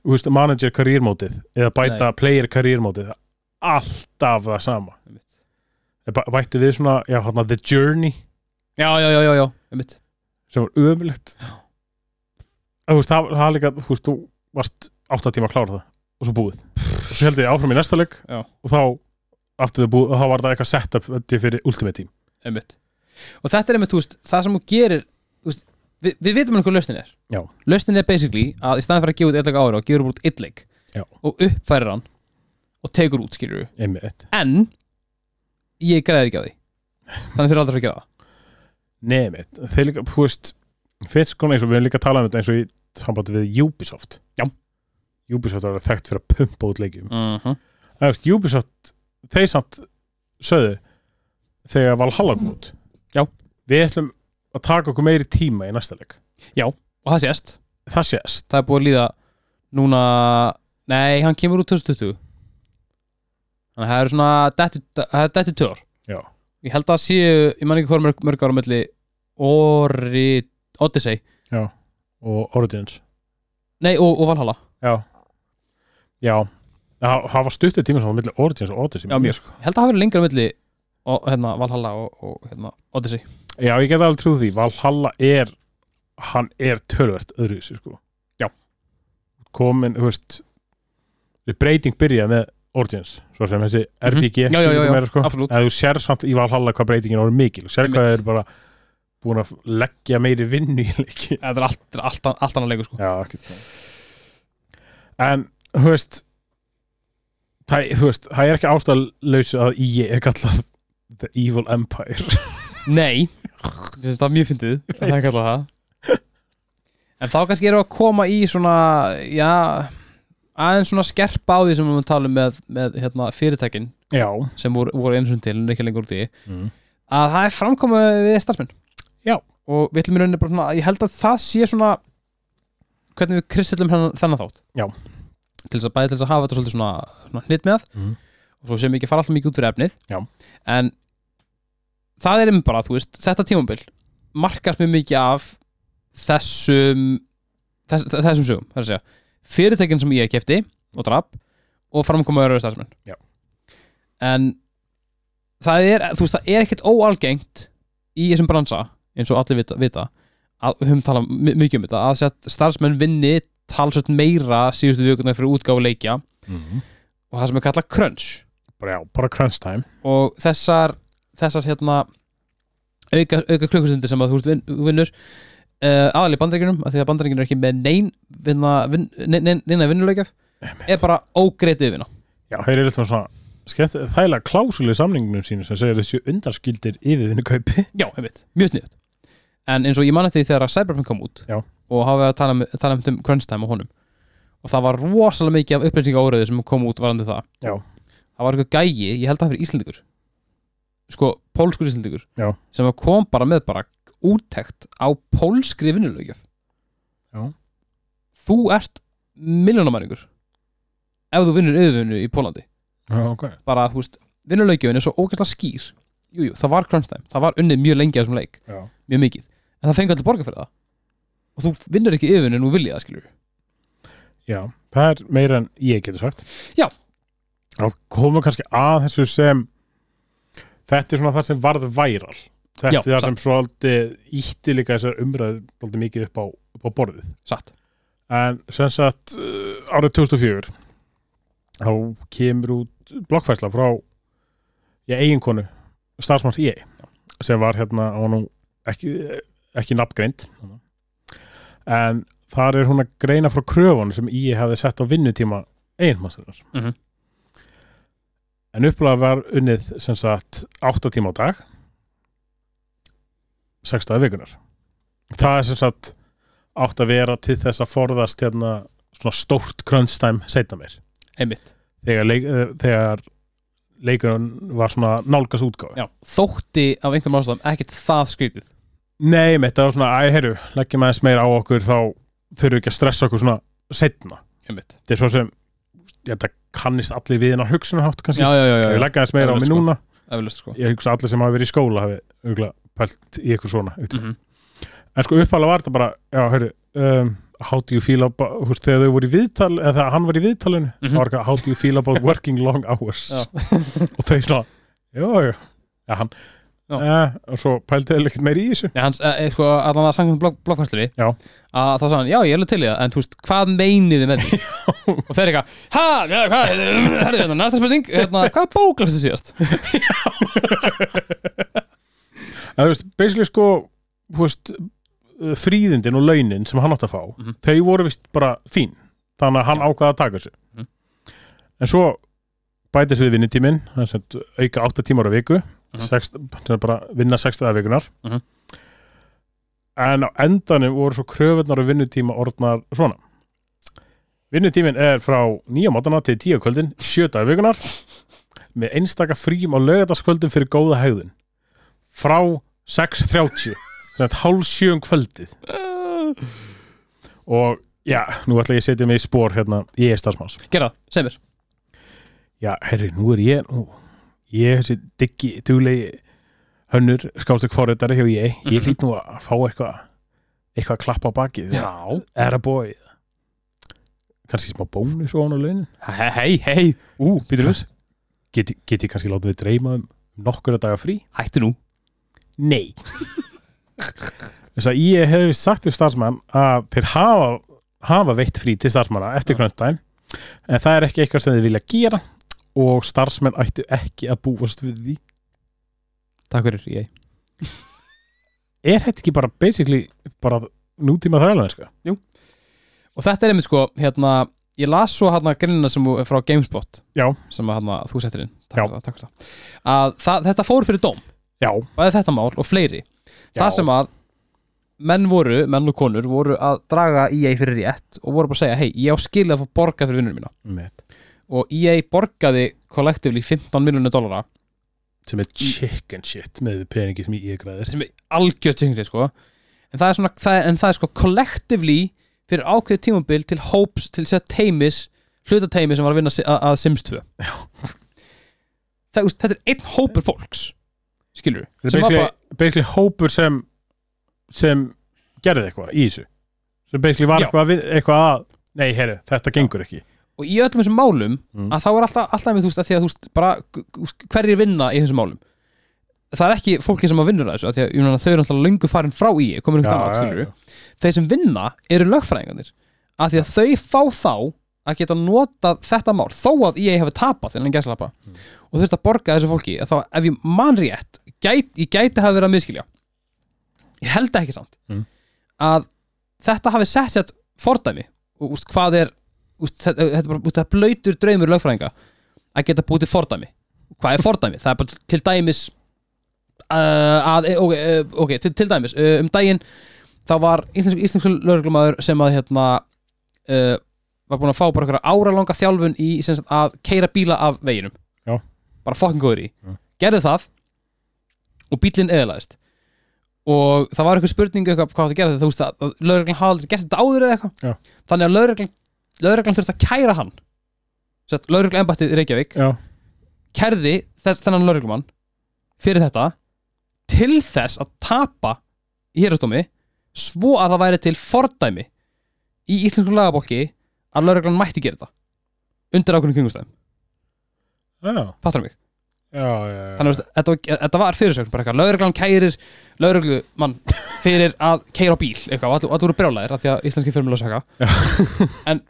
Speaker 2: þú veist, manager karýrmótið eða bæta player karýrmótið alltaf það sama
Speaker 1: Einmitt.
Speaker 2: Þeir bæ- bættu við svona já, hérna, the journey
Speaker 1: Já, já, já, já, já, einmitt
Speaker 2: sem var ömulegt það, það, það var líka, þú veist, þú varst átta tíma að klára það og svo búið og svo heldur ég áfram í næsta leik
Speaker 1: Já.
Speaker 2: og þá aftur þau búið, og þá var það eitthvað setup held ég, fyrir Ultimate Team
Speaker 1: Einmitt Og þetta er einmitt, þú veist, það sem þú gerir þú veist, við, við vitum alveg hvað lausnin er
Speaker 2: Já.
Speaker 1: Lausnin er basically að í staðan fyrir að gefa út eitthvað ára og gefur út eitt leik
Speaker 2: Já.
Speaker 1: og uppfærir hann og tekur út, skilur
Speaker 2: einmitt,
Speaker 1: en ég græðir ekki á því þannig þurfa aldrei að fara að gera það
Speaker 2: nefnitt þeir líka, þú veist, fyrst konar eins og við höfum líka talað um þetta eins og í sambandi við Ubisoft
Speaker 1: Já.
Speaker 2: Ubisoft var þekkt fyrir að pumpa út leikjum
Speaker 1: uh -huh.
Speaker 2: en þú veist, Ubisoft, þeir samt sögðu þegar Valhalla kom út
Speaker 1: Já.
Speaker 2: við ætlum að taka okkur meiri tíma í næsta leik
Speaker 1: og það sést,
Speaker 2: það sést
Speaker 1: það er búið að líða núna, nei, hann kemur út 2020 þannig að það eru svona dettu- það er dættu tör
Speaker 2: Já.
Speaker 1: ég held að séu, ég man ekki hvað er mörg, mörg ára melli Ori, Odyssey
Speaker 2: og Origins
Speaker 1: nei, og, og Valhalla
Speaker 2: já já það það var stuttur tíma sem var milli Origins og Odyssey
Speaker 1: Já, mjög. ég sko. held að það verið lengra á milli og, hérna, Valhalla og, og hérna, Odyssey
Speaker 2: já ég get alveg trúð því Valhalla er hann er tölvert öðruvísi sko já komin þú veist við breyting byrjaði með Origins svo sem þessi RPG
Speaker 1: Mhm. Já, já, já, já,
Speaker 2: meira, sko.
Speaker 1: absolutt.
Speaker 2: en þú sér samt í Valhalla hvað breytingin voru mikil þú sér
Speaker 1: Einmitt.
Speaker 2: hvað það er bara búin að leggja meiri vinnu í leiki
Speaker 1: þetta er allt, þetta er allt, allt annað leikur sko.
Speaker 2: Já, ekki En, þú veist Það, þú veist, það er ekki ástæðlaus að ég er kallað The Evil Empire [LAUGHS]
Speaker 1: Nei Þetta er mjög fyndið að Það er kallað það En þá kannski erum við að koma í svona Já aðeins svona skerpa á því sem við erum að tala um með, með hérna, fyrirtækin
Speaker 2: Já
Speaker 1: sem voru, voru eins og til en eru ekki lengur út í
Speaker 2: mm.
Speaker 1: að það er framkomið við starfsmenn
Speaker 2: Já.
Speaker 1: og við ætlum í rauninni bara svona ég held að það sé svona hvernig við kristillum hennan, þennan þátt
Speaker 2: Já.
Speaker 1: til þess að bæði til þess að hafa þetta svolítið svona, svona hnitt með
Speaker 2: Mhm.
Speaker 1: og svo sem ekki fara alltaf mikið út fyrir efnið
Speaker 2: Já.
Speaker 1: en það er einmitt bara, þú veist, þetta tímambil markast mjög mikið af þessum þess, þessum sögum, það er að segja fyrirtækin sem ég kefti og drap og framkomaður öðru starfsmenn
Speaker 2: Já.
Speaker 1: en það er, þú veist, það er ekkert óalgengt í þessum bransa, eins og allir vita, vita að við höfum talað mi- mikið um þetta að sett starfsmenn vinni talsveit meira síðustu vikuna fyrir útgáfu leikja
Speaker 2: mm.
Speaker 1: og það sem er kallað crunch
Speaker 2: Bara, já, bara crunch time
Speaker 1: og þessar þessar hérna auka, auka klukkustundir sem að þú ert vin, þú vinnur uh, aðal í bandaríkjunum af því að bandaríkjunum er ekki með nein vinna, vin, nein, nein, neina vinnuleikjaf er bara ógreitt yfirna
Speaker 2: Já, þeir eru eitthvað svona skemmt, þægilega klásulega samningnum sínu sem segir þessu undarskildir yfirvinni kaupi
Speaker 1: Já, einmitt, mjög sniðut En eins og ég man eftir því þegar að Cyberpunk kom út
Speaker 2: Já.
Speaker 1: og hafa verið að tala, um- tala um þetta um crunch time á honum og það var rosalega mikið af upplýsinga áriði sem kom út varandi það
Speaker 2: Já.
Speaker 1: Það var eitthvað gæi, ég held að það fyrir Íslendingur sko, pólskur Íslendingur
Speaker 2: Já.
Speaker 1: sem að kom bara með bara úttekt á pólskri vinnulögjöf
Speaker 2: Já.
Speaker 1: Þú ert milljónamæningur ef þú vinnur yfirvinnu í Pólandi
Speaker 2: Já, ok
Speaker 1: bara, þú veist, vinnulögjöfin er svo ógæslega skýr Jújú, jú, það var crunch time, það var unnið mjög lengi að þessum leik
Speaker 2: Já,
Speaker 1: mjög mikið en það fengi allir borga fyrir það og þú vinnur ekki yfir en þú viljið það skilur
Speaker 2: já það er meira en ég getur sagt
Speaker 1: Já.
Speaker 2: Þá komum við kannski að þessu sem þetta er svona það sem varð væral þetta
Speaker 1: Já,
Speaker 2: er það
Speaker 1: satt.
Speaker 2: sem svolítið ítti líka þessar umræður svolítið mikið upp á, upp á borðið
Speaker 1: satt
Speaker 2: en sem sagt uh, árið 2004 þá kemur út blokkfærsla frá ég eigin konu starfsmanns ég sem var hérna, hún var nú ekki, ekki nafngreind
Speaker 1: Mhm.
Speaker 2: en þar er hún að greina frá kröfunum sem ég hefði sett á vinnutíma eiginmannsverðar
Speaker 1: Mhm.
Speaker 2: en upplega var unnið sem sagt 8 tíma á dag 6 dagar vikunar það er sem sagt átt að vera til þess að forðast hérna svona stórt krönstæm setna mér
Speaker 1: einmitt
Speaker 2: þegar, leik, eh, þegar leikurinn var svona nálgas útgáfi
Speaker 1: Já, þótti af einhverjum ástæðum ekkert það skrítið
Speaker 2: Nei, mitt, það var svona, æ, heyrðu, leggjum aðeins meira á okkur þá þurfum við ekki að stressa okkur svona setna
Speaker 1: einmitt
Speaker 2: þetta er svo sem, ég held að kannist allir við hennar hugsunarhátt kannski
Speaker 1: Já, já, já,
Speaker 2: Ef
Speaker 1: já,
Speaker 2: ég
Speaker 1: já,
Speaker 2: leggja aðeins meira á
Speaker 1: Eflaust,
Speaker 2: mig
Speaker 1: sko.
Speaker 2: núna
Speaker 1: eflaust sko
Speaker 2: ég hugsa allir sem hafa verið í skóla hafi hugla pælt í eitthvað svona mm.
Speaker 1: Mhm.
Speaker 2: en sko uppalega var þetta bara, já, heyrðu um, how do you feel about, þú veist, þegar þau voru í viðtal eða þegar hann var í viðtalinu mm
Speaker 1: Mhm.
Speaker 2: var eitthvað, how do you feel about working long hours
Speaker 1: Já.
Speaker 2: [LAUGHS] og þau svona, já, já ja, hann,
Speaker 1: Já.
Speaker 2: Eh, og svo pældi þeir ekkert meira í þessu
Speaker 1: Nei, hans, eh, eh, sko, allan að sangum blog, blokkværsluði
Speaker 2: Já.
Speaker 1: að þá sagði hann, já, ég er alveg til í það en þú veist, hvað meinið þið með því
Speaker 2: [LAUGHS]
Speaker 1: og þeir eitthvað, ha, já, hvað herrðu, hérna, næsta spurning, hérna, hvað bók lastu síðast?
Speaker 2: [LAUGHS] en þú veist, basically sko þú veist, eh, fríðindin og launin sem hann átti að fá,
Speaker 1: Mhm.
Speaker 2: þau voru vist bara fín, þannig að hann ákvaða að taka þessu
Speaker 1: Mhm.
Speaker 2: en svo bætist við vinnutíminn það er sem sagt auka 8 tímar á viku
Speaker 1: Mhm.
Speaker 2: sex, sem er bara vinna 6 dagar vikunar
Speaker 1: Mhm.
Speaker 2: en á endanum voru svo kröfunar og vinnutíma orðnar svona vinnutíminn er frá nýja mátana til 10 kvöldin 7 dagar vikunar með einstaka frím á lögataskvöldum fyrir góða hegðun frá 6.30 þannig að hálf sjöum kvöldið og já, nú ætla ég að setja mig í spór hérna, ég er starfsmanns
Speaker 1: Gerða, segir mér
Speaker 2: já, herri, nú er ég nú, ég er þessi diggi, duglegi hönnur, skálstökk forritari hjá ég ég hlýt nú að fá eitthvað eitthvað að klappa á bakið
Speaker 1: Já,
Speaker 2: er að bói kannski smá bónus ofan á launin
Speaker 1: hei, hei, hei
Speaker 2: ú, býtur við get, get ég kannski látið við dreyma um nokkura daga frí
Speaker 1: hættu nú
Speaker 2: Nei [LAUGHS] Þess að ég hef sagt við starfsmann að þeir hafa, hafa veitt frí til starfsmanna eftir gröntdæm en það er ekki eitthvað sem þeir vilja gera og starfsmenn ættu ekki að búast við því
Speaker 1: Takk fyrir, ég
Speaker 2: Er þetta ekki bara basically bara nútíma sko? þrælanska?
Speaker 1: Og þetta er einmitt sko, hérna, ég las svo hérna greinina sem þú- frá Gamespot
Speaker 2: Já.
Speaker 1: sem að hérna, þú settir inn
Speaker 2: Já.
Speaker 1: takk fyrir það, takk fyrir það. að það, þetta fór fyrir dóm
Speaker 2: Já,
Speaker 1: bæði þetta mál og fleiri
Speaker 2: Já.
Speaker 1: það sem að menn voru, menn og konur voru að draga EA fyrir rétt og voru bara að segja, hei, ég á skilið að fá borga fyrir vinnunum mína
Speaker 2: Mitt.
Speaker 1: og EA borgaði kollektífli 15 miljonir dollara
Speaker 2: sem er chicken shit með við peningi sem ég græðir
Speaker 1: sem er algjört syngri sko. en, það er svona, það er, en það er sko kollektífli fyrir ákveðið tímabil til hóps til sér teimis hlutateimis sem var að vinna si- að, að Sims 2 það, úst, þetta er einn hópur fólks skilur
Speaker 2: Þetta er basically, basically hópur sem sem gerði eitthvað í þessu sem basically var
Speaker 1: Já.
Speaker 2: eitthvað, að vin- eitthvað að Nei, herru, þetta gengur ekki
Speaker 1: og í öllum þessum málum
Speaker 2: Mm.
Speaker 1: að þá er alltaf, alltaf með þú veist að því að þú veist bara gu- gu- hverjir vinna í þessum málum það er ekki fólki sem að vinnur að þessu að því að ég meina, þau eru alltaf löngu farin frá í komin um
Speaker 2: Já,
Speaker 1: þannig
Speaker 2: já,
Speaker 1: skilur þeir sem vinna eru lögfræðingarnir að því að þau fá þá að geta notað þetta mál þó að ég hefði tapað þennan gæslappa mm. og þurft að borga þessu fólki að þá ef ég man rétt gæt, ég gæti hafa verið að miskilja ég held ekki samt
Speaker 2: Mm.
Speaker 1: að þetta hafi sett sett fordæmi og úst, hvað er úst, þetta, þetta er bara úst, það er blöytur draumur lögfræðinga að geta búið til fordæmi hvað er fordæmi? það er bara til- til dæmis uh, að, ok, uh, ok, til, til dæmis uh, um daginn þá var íslensk, íslensk lögreglumæður sem að hérna uh, var búin að fá bara einhverja áralanga þjálfun í sem sagt, að keira bíla af veginum
Speaker 2: Já.
Speaker 1: bara fokkin góður í
Speaker 2: Já.
Speaker 1: gerði það og bílinn eðlaðist og það var einhver spurning eitthvað hvað það gera þetta, þú veist að, að lögreglan hafði aldrei gert þetta áður eða
Speaker 2: Já.
Speaker 1: eitthvað þannig að lögreglan, lögreglan þurfti að kæra hann Sett, lögreglan embættið í Reykjavík
Speaker 2: Já.
Speaker 1: kærði þess, þennan lögreglumann fyrir þetta til þess að tapa í hérastómi svo að það væri til fordæmi í íslenskum lagabólki að lögreglan mætti gera þetta undir ákveðnum kringumstæðum,
Speaker 2: Já,
Speaker 1: fattar mig
Speaker 2: já, já, já.
Speaker 1: þannig að þetta var, þetta var fyrirsögn bara eitthvað, lögreglan kærir lögreglumann fyrir að keira á bíl eitthvað, og allir, allir voru brjálæðir af því að íslenski fjölmjölu saka [LAUGHS] en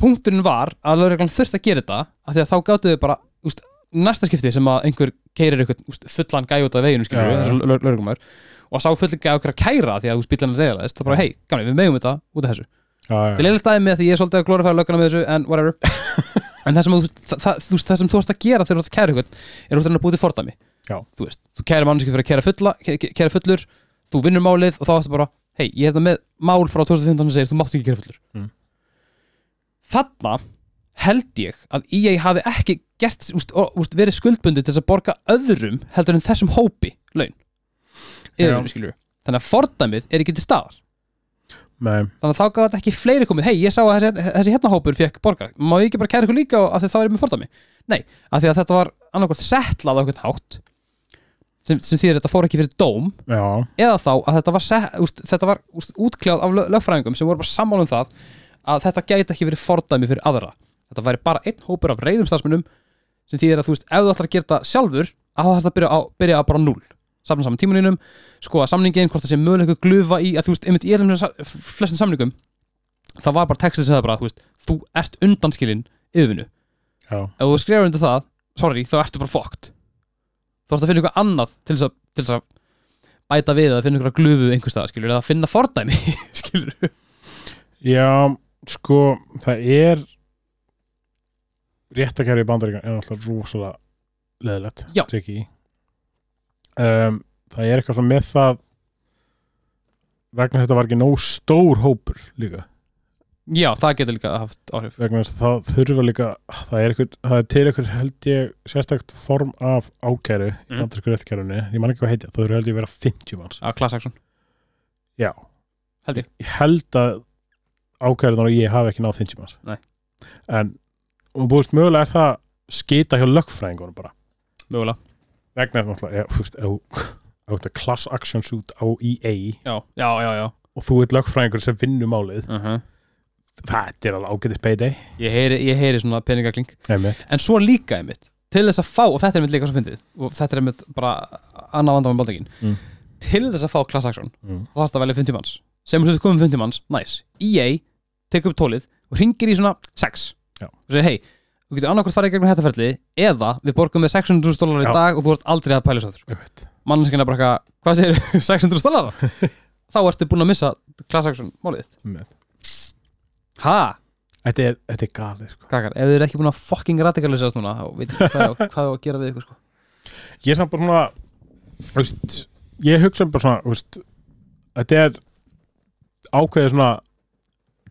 Speaker 1: punkturinn var að lögreglan þurfti að gera þetta af því að þá gáttu þau bara úst, næsta skipti sem að einhver keirir eitthvað úst, fullan gæi út af veginu skilur
Speaker 2: Já,
Speaker 1: við,
Speaker 2: já.
Speaker 1: þessu lögumar og að sá fullan gæi okkur að kæra því að úst, bílan er reyðalaðist, þá bara hei, gamli, við megum þetta út af þessu
Speaker 2: já,
Speaker 1: Þetta er
Speaker 2: já,
Speaker 1: leiligt dæmi að því ég er svolítið að glorifæra löggana með þessu en
Speaker 2: [LAUGHS]
Speaker 1: whatever en það sem, þú- það, það, þú veist, það sem þú ert að gera þegar þú ert að kæra ykkur er út að búið til fordæmi
Speaker 2: Já.
Speaker 1: þú veist, þú kæra mannskjöf fyrir að kæra, fulla, ke- ke- kæra fullur þú vinnur málið og þá áttu bara hei, ég er þetta með mál frá 2015 sem segir þú mátt ekki kæra fullur
Speaker 2: Mm.
Speaker 1: þarna held ég að EA hafi ekki gert, úst, og, úst, verið skuldbundið til þess að borga öðrum heldur en þessum hópi laun
Speaker 2: Já.
Speaker 1: Yfirvinnu, skilurðu. þannig að fordæmið er ekki til staðar
Speaker 2: nei,
Speaker 1: þannig að þá gaf þetta ekki fleiri komið hei, ég sá að þessi, þessi hérna hópur fekk borga má ég ekki bara kæra ykkur líka og að því þá er ég með fordæmi nei, af því að þetta var annarkvæmt setlað á einhvern hátt sem, sem þýðir að þetta fór ekki fyrir dóm
Speaker 2: já,
Speaker 1: eða þá að þetta var, set, úst, þetta var úst, útkljáð af lög, lögfræðingum sem voru bara sammála um það að þetta gæti ekki verið fordæmi fyrir aðra þetta væri bara einn hópur af reyðum starfsmönnum sem þýðir að þú veist, ef þú ætlar að gera þetta sjálfur að það þarf að byrja á, byrja á bara núl samna saman tímaninum, skoða samningin hvort það sé mögulega eitthvað glufa í að þú veist, einmitt í öllum þessum sa- flestum samningum það var bara textið sem það bara, þú veist þú ert undanskilinn yfirvinnu
Speaker 2: já,
Speaker 1: ef þú skrifar undir það, sorry, þá ertu bara fokkt þú ert að finna eitthvað annað til þess að, til þess að bæta við að finna eitthvað glufu einhvers staðar, skilur, eða finna fordæmi [LAUGHS] skilur,
Speaker 2: Já, sko, það er réttakæri í bandaríkan er alltaf rosalega leðilegt
Speaker 1: Já.
Speaker 2: tricky. um, Það er eitthvað svona með það vegna þess að þetta var ekki nóg stór hópur líka
Speaker 1: já, það getur líka haft áhrif
Speaker 2: vegna þess að það þurfa líka það er, eitthvað, það er til eitthvað held ég sérstakt form af ákæru í
Speaker 1: Mhm.
Speaker 2: bandarísku réttakærunni, ég man ekki hvað heitja það þurfa held ég að vera 50 manns
Speaker 1: að Klaas Axon,
Speaker 2: Já
Speaker 1: Held ég.
Speaker 2: held að ákæðunar og ég hafi ekki náð 50 manns
Speaker 1: Nei.
Speaker 2: En og búist mögulega er það skita hjá lögfræðingunum bara
Speaker 1: mögulega
Speaker 2: vegna er náttúrulega ég, fúst, ef, ef, ef, class action suit á EA
Speaker 1: já, já, já, já
Speaker 2: og þú ert lögfræðingur sem vinnur málið
Speaker 1: uh -huh.
Speaker 2: þetta er alveg ágætis payday
Speaker 1: ég, heyri, ég heyri svona peningakling
Speaker 2: Einmitt.
Speaker 1: en svo líka einmitt til þess að fá, og þetta er einmitt líka svo fyndið og þetta er einmitt bara annað vandamæn baldegin
Speaker 2: Mm.
Speaker 1: til þess að fá Klaas Axon
Speaker 2: Mm.
Speaker 1: þá þarfst að velja 50 manns sem þú komum 50 manns, næs EA, tekur upp tólið og ringir í svona 6
Speaker 2: Já.
Speaker 1: og segir hei, þú getur annarkvort farið í gegnum þetta ferli eða við borgum við 600.000 dólar
Speaker 2: Já.
Speaker 1: í dag og þú ert aldrei að pæla svo þurr
Speaker 2: Einmitt.
Speaker 1: mannskina bara eitthvað, hvað [LAUGHS] segir 600.000 dólar?
Speaker 2: [LAUGHS]
Speaker 1: þá ertu búin að missa Klaas Axon málið þitt.
Speaker 2: Einmitt.
Speaker 1: ha,
Speaker 2: Þetta er, þetta er galið sko.
Speaker 1: krakkar, ef þið eru ekki búin að fucking radikalisast núna, þá veit ég hvað,
Speaker 2: [LAUGHS]
Speaker 1: hvað á að gera við ykkur sko
Speaker 2: Ég er samt bara svona þú veist, ég hugsa um bara svona þú veist, þetta er ákveðið svona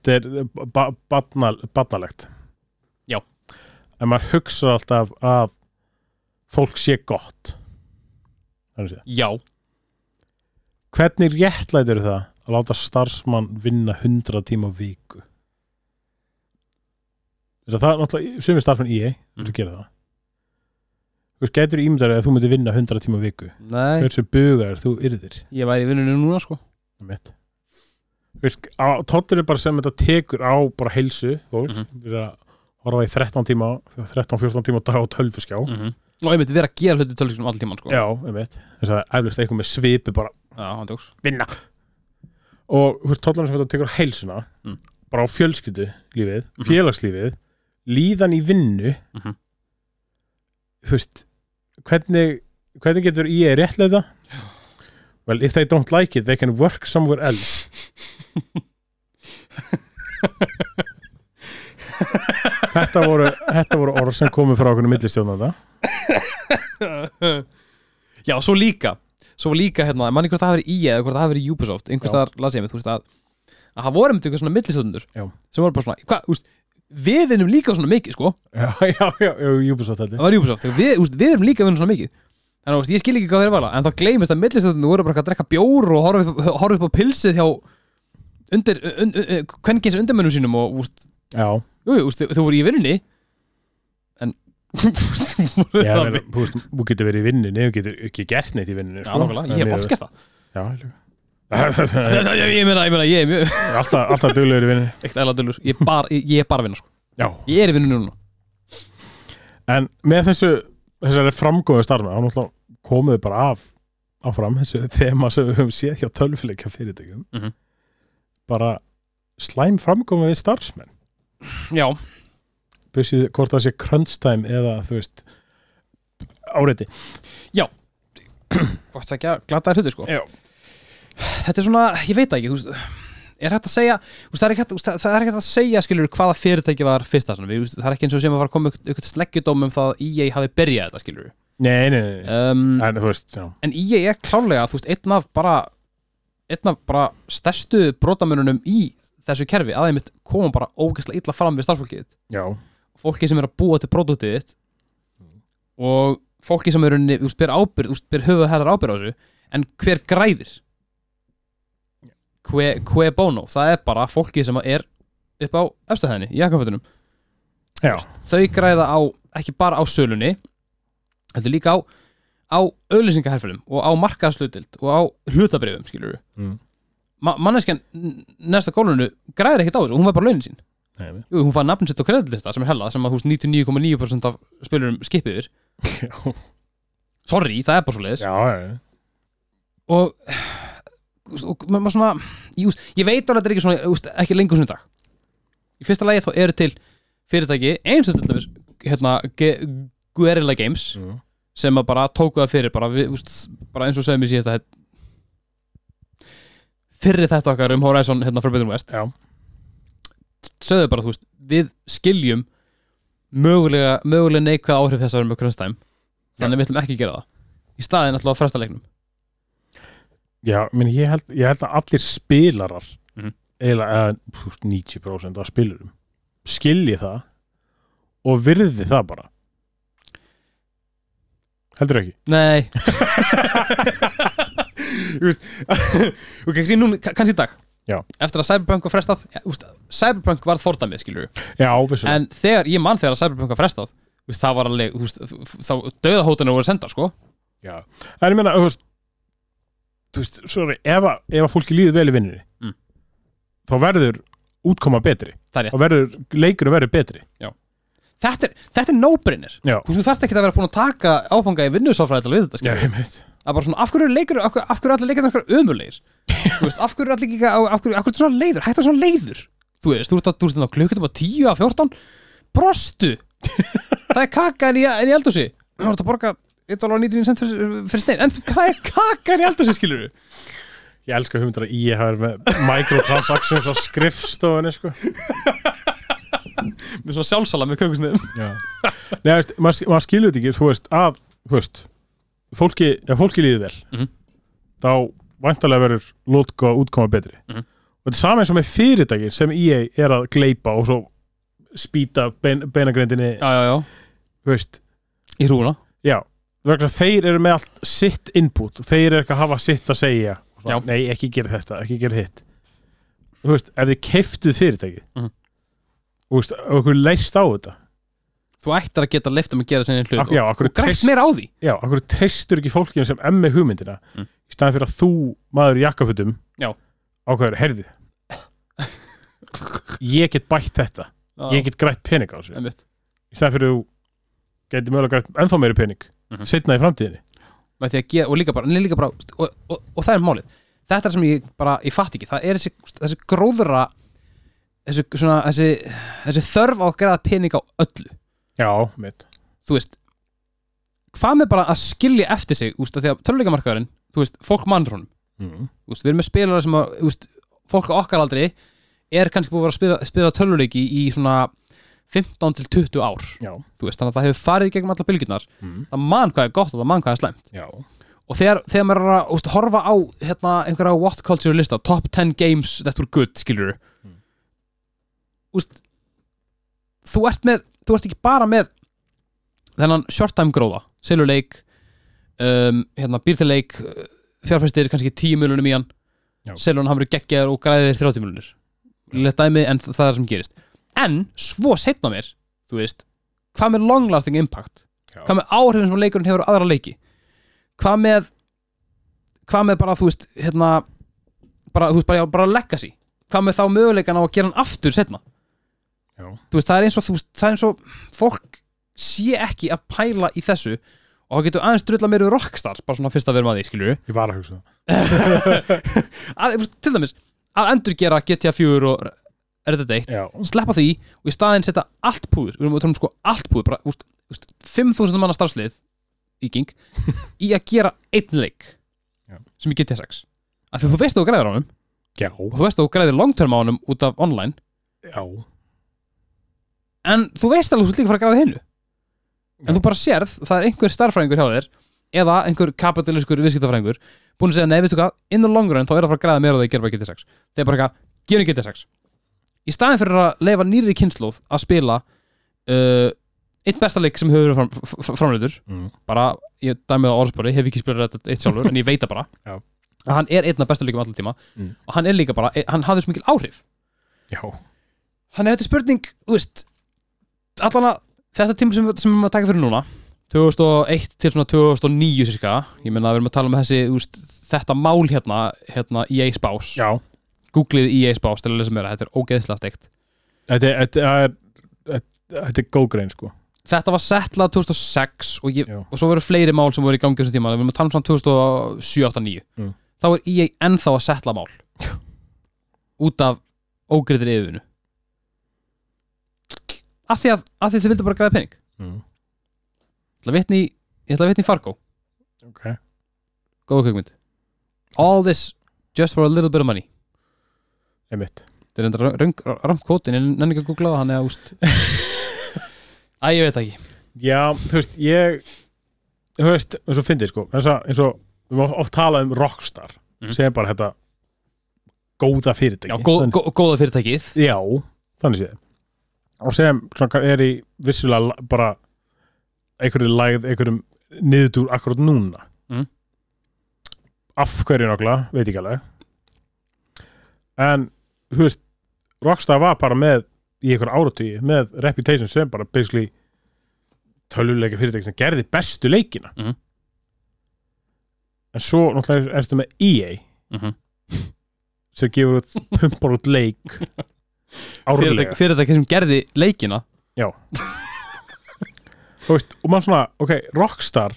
Speaker 2: þetta er ba badnal, badnalegt
Speaker 1: Já.
Speaker 2: en maður hugsa alltaf að fólk sé gott Þannig sé.
Speaker 1: já,
Speaker 2: hvernig réttlætur það að láta starfsmann vinna 100 tíma á viku þess að það er náttúrulega sumir starfsmann í ei, þú
Speaker 1: Mm.
Speaker 2: veist að gera það þú veist, getur ímyndar að þú myndir vinna 100 tíma á viku
Speaker 1: nei,
Speaker 2: hversu bugar þú yrðir
Speaker 1: ég væri í vinnunni núna sko
Speaker 2: mitt Tóttur er bara sem þetta tekur á bara heilsu fólk mm
Speaker 1: Mhm.
Speaker 2: -hmm. að horfa í 13 tíma 13-14 tíma á dag á tölvuskjá
Speaker 1: Mm. og einmitt vera að gera hluti tölvískunum all tíman sko
Speaker 2: Mhm. Já, einmitt þess að eflust eitthvað með svipu bara
Speaker 1: já hann tóks
Speaker 2: vinna og tóttur sem þetta tekur á heilsuna
Speaker 1: Mm.
Speaker 2: bara á fjölskyldu lífið félagslífið, líðan í vinnu
Speaker 1: Mhm.
Speaker 2: þú veist hvernig, hvernig getur E ég réttlega well if they don't like it they can work somewhere else þetta voru, þetta voru orð sem komu frá okkur millistjóðnanda
Speaker 1: Já, svo líka Svo líka hérna, mann einhvers það hafi verið í eða hvort það hafi verið í Ubisoft einhvers
Speaker 2: Já.
Speaker 1: það las ég með, þú veist að að það voru um eitthvað svona millisöndur
Speaker 2: Já.
Speaker 1: sem voru bara svona, hvað, úst við vinnum líka svona mikið, sko
Speaker 2: já, já, já, já, Ubisoft heldur
Speaker 1: það var Ubisoft, þegar við, úst, við erum líka að vinna svona mikið þannig að úst, ég skil ekki hvað þeir vala en þá gleymist að millisöndur voru bara að drekka bjór og horfa upp, horfa upp á pilsið hjá undir, un, un, un, kvenkins undirmönnum sínum og úst,
Speaker 2: já,
Speaker 1: jú, jú, úst, þau, þau voru í vinnunni en [LAUGHS] úst, voru
Speaker 2: já
Speaker 1: það
Speaker 2: meina, þú veist, þú getur verið í vinnunni þú getur ekki gert neitt í vinnunni
Speaker 1: Já,
Speaker 2: sko.
Speaker 1: nákvæmlega, ég hef oft gert það sko.
Speaker 2: já, ég líka.
Speaker 1: Ég [LAUGHS] ég meina, ég meina, ég er mjög
Speaker 2: alltaf, alltaf duglegur í vinnu
Speaker 1: ekkert eðla dölur, ég er bara, ég, ég er bara að vinna sko.
Speaker 2: já.
Speaker 1: ég er í vinnu núna
Speaker 2: en með þessu þessari framgóðu starfna þá náttúrulega komuðu bara af áfram þessu þema sem við höfum séð hjá tölvuleika fyrirtækjum
Speaker 1: Mhm.
Speaker 2: bara slæm framgóðu við starfsmenn
Speaker 1: já,
Speaker 2: busið hvort það sé crunch time eða þú veist áreiti
Speaker 1: Sko. Hvort það ekki að glata þér hluti sko
Speaker 2: Já.
Speaker 1: Þetta er svona, ég veit það ekki, þú veist Er hægt að segja, þú veist, það er ekki hægt, þú veist, það er ekki hægt að segja skilur hvaða fyrirtæki var fyrsta svona. Við, þú veist, Það er ekki eins og sem að fara að koma ykkur, ykkur sleggjudóm um það að EA hafi byrjað þetta skilur
Speaker 2: Nei, nei, nei, nei.
Speaker 1: um,
Speaker 2: En, þú veist, já.
Speaker 1: En EA er klálega, þú veist, einn af bara einn af bara stærstu brotamönunum í þessu kerfi aðeins mitt koma bara ógeðslega illa fram við starffólkið
Speaker 2: já
Speaker 1: fólki sem er að búa til produktið þitt og fólki sem er unni, þú veist, ber ábyrð, þú veist, ber höfuð hæðar ábyrð á þessu en hver græðir? Hver, hver bóno? Það er bara fólki sem er upp á efstuhæðinni, í jakkafötunum
Speaker 2: Já,
Speaker 1: þau græða á, ekki bara á sölunni heldur líka á á auðlýsingaherfölum og á markaðslutild og á hlutabrifum, skilur við
Speaker 2: Mm.
Speaker 1: Ma manneskjan n- næsta góluninu græðir ekkert á þessu, hún var bara launin sín
Speaker 2: nei, nei.
Speaker 1: Jú, hún fann nafninsett á kreditlista sem er hella sem að hús 99,9% af spilurum skipið yfir
Speaker 2: já,
Speaker 1: Sorry, það er bara svo leiðis
Speaker 2: já, já.
Speaker 1: og, og ma- maður svona, ég, úst, ég veit alveg að þetta er ekki, svona, úst, ekki lengur svona í dag Í fyrsta lagi þá eru til fyrirtæki eins og til dæmis hérna, Ge- Guerrilla Games
Speaker 2: Mm.
Speaker 1: sem að bara tóku það fyrir bara, við, úst, bara eins og sögum í síðasta þetta fyrir þetta okkar um Horizon hérna Forbidden West
Speaker 2: já.
Speaker 1: sögðu bara, þú veist, við skiljum mögulega, mögulega neikvæð áhrif um þess að vera með krönstæm þannig að við ætlum ekki að gera það í staðin alltaf að fresta leiknum
Speaker 2: Já, menn ég held, ég held að allir spilarar mm
Speaker 1: Mhm.
Speaker 2: -hmm. eiginlega eða, pú, 90% af spilurum skilji það og virði það bara Heldur ekki?
Speaker 1: Nei Þú veist [LAUGHS] og kannski, núna, ka- kannski í dag
Speaker 2: Já.
Speaker 1: eftir að Cyberpunk var frestað ja, úst, Cyberpunk varð fordæmið, skilur við
Speaker 2: Já, vissu
Speaker 1: en þegar, ég man þegar að Cyberpunk var frestað þú veist, það var alveg, þú veist, f- f- þá döðahótana voru sendar, sko
Speaker 2: Já, en ég meina, þú veist þú veist, sorry, ef að, ef að fólki líður vel í vinnunni
Speaker 1: Mm.
Speaker 2: þá verður útkoma betri
Speaker 1: Það er rétt.
Speaker 2: og verður, leikurinn verður betri
Speaker 1: þetta er, þetta er no-brainer
Speaker 2: Já,
Speaker 1: þú veist, þú þarft ekki að vera búin að taka áfanga í vinnusálfræði til að við þetta, skilur
Speaker 2: já ég veit
Speaker 1: að bara svona, af hverju eru leikur af hverju, af hverju eru allir leikir okkar ömulegir Þú veist, af hverju eru allir ekki af, af hverju, af hverju ertu svona leiður, hættu að vera svona leiður þú veist, þú ert að, þú ert hérna að klukkutum að 10 að 14 brostu það er kaka en ég, en ég eldur sig þú ert að borga 1,99 cent fyrir, fyrir stein en það er kaka en ég eldur sig skilur
Speaker 2: Ég elska hugmyndar að ég hafa verið með microtransactions á skrifstofunni, sko
Speaker 1: með svona sjálfsala með kökusniðum
Speaker 2: Já. Nei, veist, maður, maður skilur þetta ekki, þú veist, að, þú veist, fólki, ef fólki líður vel,
Speaker 1: Mhm.
Speaker 2: þá væntalega verður lótka útkoma betri.
Speaker 1: Mhm.
Speaker 2: Og þetta er sama eins og með fyrirtæki sem EA er að gleipa og svo spýta bein, beinagrindinni,
Speaker 1: já, já, já,
Speaker 2: þú veist,
Speaker 1: í hrúna
Speaker 2: já, vegna þeir eru með allt sitt input, þeir eru eitthvað að hafa sitt að segja, Svo,
Speaker 1: Já.
Speaker 2: nei, ekki gera þetta, ekki gera hitt. Þú veist, ef þið keiftuð fyrirtæki,
Speaker 1: Mhm.
Speaker 2: þú veist, og okkur leist á þetta,
Speaker 1: þú ættir að geta leift um að gera sinni hlut
Speaker 2: Ak- já, okkur
Speaker 1: og grætt meira á því
Speaker 2: já, akkur treystur ekki fólkinu sem emmi hugmyndina
Speaker 1: Mm.
Speaker 2: í staðan fyrir að þú, maður í jakkafutum
Speaker 1: Já.
Speaker 2: ákveður, heyrðu ég get bætt þetta ég get grætt pening á þessu
Speaker 1: Einmitt.
Speaker 2: í staðan fyrir að þú getur mögulega grætt ennþá meiri pening
Speaker 1: Mhm.
Speaker 2: setna í framtíðinni
Speaker 1: með því að gera, og líka bara, en líka bara og, og, og það er málið, þetta er sem ég bara ég fatt ekki, það er þessi, þessi gróðra þessi, svona, þessi, þessi þörf á að gera pening á öllu
Speaker 2: já, mitt
Speaker 1: þú veist hvað með bara að skilja eftir sig úst, því að töluleikamarkaðurinn, þú veist, fólk mannrónum
Speaker 2: mm.
Speaker 1: úst, við erum með spilara sem að úst, fólk á okkar aldrei er kannski búið að vera að spila, spila töluleiki í svona 15 til 20 ár
Speaker 2: já,
Speaker 1: þú veist, þannig að það hefur farið í gegnum allar bylgjurnar
Speaker 2: mm.
Speaker 1: það man hvað er gott og það man hvað er slæmt
Speaker 2: já,
Speaker 1: og þegar, þegar maður er að úst, horfa á hérna, einhverja what culture lista top 10 games that were good, skilur
Speaker 2: Mm.
Speaker 1: úst, þú ert með þú ert ekki bara með þennan short time gróða, selur leik um, hérna, býr til leik uh, fjárfæstir kannski 10 miljonum í hann
Speaker 2: Já.
Speaker 1: selur hann hann verið geggjaður og græðir 30 miljonir lett dæmi en það er það sem gerist en svo setna mér, þú veist hvað með long lasting impact
Speaker 2: já.
Speaker 1: hvað með áhrifin sem leikurinn hefur á aðra leiki hvað með hvað með bara þú veist hérna, bara, þú veist bara, bara legacy hvað með þá möguleikan á að gera hann aftur setna
Speaker 2: Já.
Speaker 1: þú veist það er eins og þú veist, það er eins og fólk sé ekki að pæla í þessu og það getur aðeins drulla meir við rockstar bara svona fyrst að vera maður því skilju
Speaker 2: ég var að hugsa það
Speaker 1: að, þú veist, til dæmis að endurgera GTA 4 og er þetta deitt
Speaker 2: já,
Speaker 1: sleppa því og í staðinn setja allt púður við erum að tala um sko allt púður bara, úst, úst, 5.000 manna starfslið viking í að gera einn leik
Speaker 2: Já.
Speaker 1: sem ég geti sex af því þú veist að þú græðir á honum
Speaker 2: Já,
Speaker 1: og þú veist að þú græðir long term á honum út af online
Speaker 2: já
Speaker 1: en þú veist alveg að þú ert líka að fara að græða hinnu
Speaker 2: Já.
Speaker 1: en þú bara sérð, það er einhver starffræðingur hjá þér eða einhver kapitaliskur viðskiptafræðingur búin að segja, nei, veistu hvað, in the long run þá er það að fara að græða meira og það gerði bara GT6 það er bara eitthvað, gerum GT6 í staðin fyrir að leifa nýri kynnslóð að spila uh, eitt besta leik sem hefur verið fram, f- f- framleitur
Speaker 2: mm.
Speaker 1: bara, ég dæmi það á orðspori, hef ekki spilað þetta eitt sjálfur, en ég veit það bara
Speaker 2: Já.
Speaker 1: að hann er einn af besta leikum allar tíma
Speaker 2: Mm.
Speaker 1: og hann er líka bara, e, hann hafði svo mikil áhrif
Speaker 2: Já,
Speaker 1: Þannig að þetta er spurning, þú veist allan að þetta tíma sem, sem við erum að taka fyrir núna 2001 til svona 2009 sérska ég meina að við erum að tala um þessi þú veist, þetta mál hérna, hérna EA spás
Speaker 2: já
Speaker 1: googlið EA spás til að lesa meira, þetta er ógeðslega steikt
Speaker 2: Þetta er- þetta er þetta- Þetta er góðgrein sko
Speaker 1: þetta var settlað 2006 og, ég,
Speaker 2: Já.
Speaker 1: og svo voru fleiri mál sem voru í gangi á þessum tíma, við erum að tala um svona 2007, 8, 9
Speaker 2: Mm.
Speaker 1: þá er EA ennþá að settla
Speaker 2: [LAUGHS]
Speaker 1: mál út af ógriðir yfirinu af því að, að því þau vildu bara græða pening
Speaker 2: mm.
Speaker 1: Ég ætla að vitni í, ég ætla að vitni í Fargo
Speaker 2: Ok
Speaker 1: Góða kvikmynd All this just for a little bit of money
Speaker 2: Einmitt
Speaker 1: Þetta er enda röng- rangt kótin Ég nenni ekki að googla það hann eða
Speaker 2: [LAUGHS]
Speaker 1: úst Æ, ég veit það ekki
Speaker 2: Já, þú veist, ég þú veist, eins og fyndið sko eins og, eins og við máum oft talað um rockstar
Speaker 1: Mhm.
Speaker 2: sem er bara þetta góða fyrirtæki
Speaker 1: Já, góð,
Speaker 2: Þannig-
Speaker 1: góð, góða fyrirtækið
Speaker 2: já þannig séð og sem svona, er í vissulega la- bara einhverju lægð, einhverjum niðurdúr akkurat núna
Speaker 1: Mhm.
Speaker 2: af hverju nokkla, veit ekki alveg en þú veist rockstar var bara með í einhverju áratugi með reputation sem bara basically tölvuleika fyrirtæki sem gerði bestu leikina
Speaker 1: Mhm.
Speaker 2: en svo náttúrulega ertu með EA
Speaker 1: mm -hmm.
Speaker 2: sem gefur út pumpar út leik árlega
Speaker 1: fyrirtæki, fyrirtæki sem gerði leikina
Speaker 2: Þú veist, og maður svona, ok, Rockstar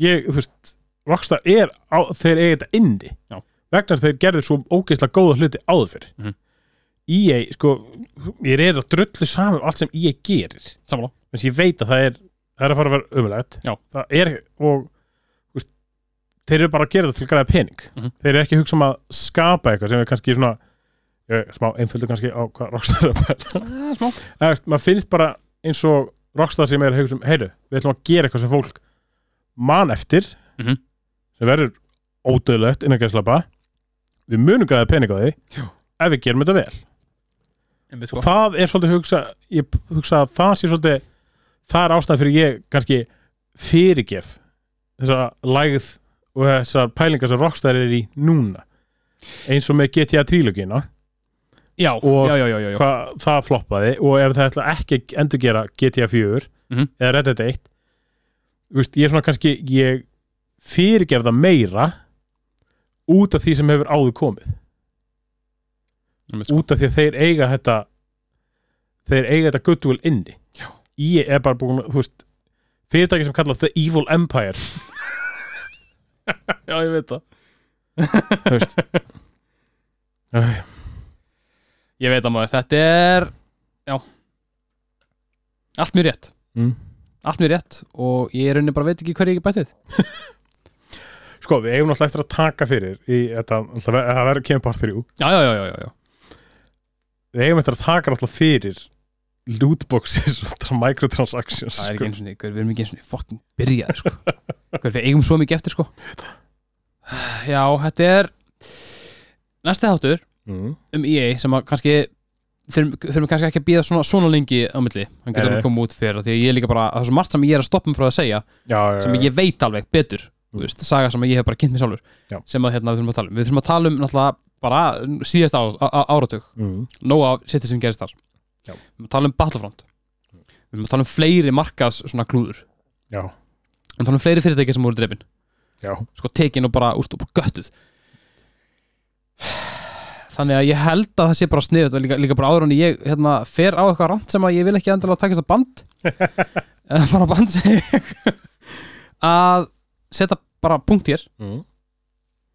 Speaker 2: ég, þú veist, Rockstar er á, þeir eiga þetta indi
Speaker 1: Já.
Speaker 2: vegna þess að þeir gerðu svo ógeðslega góða hluti áður fyrir
Speaker 1: Mhm.
Speaker 2: EA, sko, ég er að drullu saman um allt sem EA gerir
Speaker 1: Sammála
Speaker 2: þess að ég veit að það er það er að fara að vera umlægt
Speaker 1: Já.
Speaker 2: það er og þú veist, þeir eru bara að gera þetta til að græða pening
Speaker 1: Mhm.
Speaker 2: þeir eru ekki að hugsa um að skapa eitthvað sem er kannski svona ég, smá einföldu kannski á hvað Rockstar er að pæla
Speaker 1: Það er smá
Speaker 2: Eða, veist, maður finnst bara eins og Rockstar sem er að hugsa um heyru, við ætlum að gera eitthvað sem fólk man eftir
Speaker 1: Mhm.
Speaker 2: sem verður ódöðlegt innan gæðslapa við munum græða pening á því
Speaker 1: Já. Sko.
Speaker 2: ef við gerum þetta vel
Speaker 1: Einmitt,
Speaker 2: og það er svolítið hugsa ég hugsa að það sé svolítið það er ástæðan fyrir ég kannski fyrirgef þessa lægð og þessar pælingar sem Rockstar er í núna eins og með GTA 3-lögina
Speaker 1: Já,
Speaker 2: og-
Speaker 1: já, já, já, já, já.
Speaker 2: hvað það floppaði og ef það ætla ekki að endurgera GTA 4
Speaker 1: Mhm.
Speaker 2: eða Red Dead 1 þú veist, ég er svona kannski ég fyrirgef það meira út af því sem hefur áður komið
Speaker 1: Einmitt, sko.
Speaker 2: út af því að þeir eiga þetta þeir eiga þetta goodwill inni
Speaker 1: Já.
Speaker 2: ég er bara búin að, þú veist fyrirtæki sem kalla The Evil Empire
Speaker 1: já, ég veit það
Speaker 2: þú veist Æ,
Speaker 1: Ég veit það maður, þetta er Já Allt mjög rétt
Speaker 2: Mm.
Speaker 1: Allt mjög rétt og ég er rauninni bara veit ekki hverju ég ekki bætt við
Speaker 2: sko, við eigum náttúrulega eftir að taka fyrir í þetta, það ver- það verður kemur part 3
Speaker 1: Já, já, já, já, já, já.
Speaker 2: við eigum eftir að taka náttúrulega fyrir lootboxes og [LAUGHS] tra- microtransactions
Speaker 1: Það er
Speaker 2: sko.
Speaker 1: ekki eins og við erum ekki eins og fucking byrjaði sko. Hver, við eigum svo mikið eftir sko. Já, þetta er næsti þáttur
Speaker 2: mm.
Speaker 1: um EA sem að kannski þurfum, þurfum kannski ekki að býða svona, svona lengi á milli, hann getur
Speaker 2: Nei.
Speaker 1: alveg koma út fyrir því að ég er líka bara, það er svo margt sem ég er að stoppa mig frá að segja
Speaker 2: já,
Speaker 1: sem ég veit alveg betur
Speaker 2: Mm.
Speaker 1: þú veist, saga sem ég hef bara kynnt mér sjálfur
Speaker 2: Já.
Speaker 1: sem að hérna við þurfum að tala um, við þurfum að tala um náttúrulega bara síðast á, á, á, áratug
Speaker 2: mm.
Speaker 1: nóg af setja sem gerist þar
Speaker 2: Já.
Speaker 1: við erum að tala um Battlefront við erum að tala um fleiri markas svona klúður
Speaker 2: já,
Speaker 1: við erum að tala um fleiri fyrirtæki sem voru drefin
Speaker 2: já,
Speaker 1: sko tekin og bara úst og bara göttuð þannig að ég held að það sé bara sniðut og líka, líka bara áður en ég hérna, fer á eitthvað rant sem að ég vil ekki endilega takast á band eða fara á band segi ég. að setja bara punkt hér
Speaker 2: mm.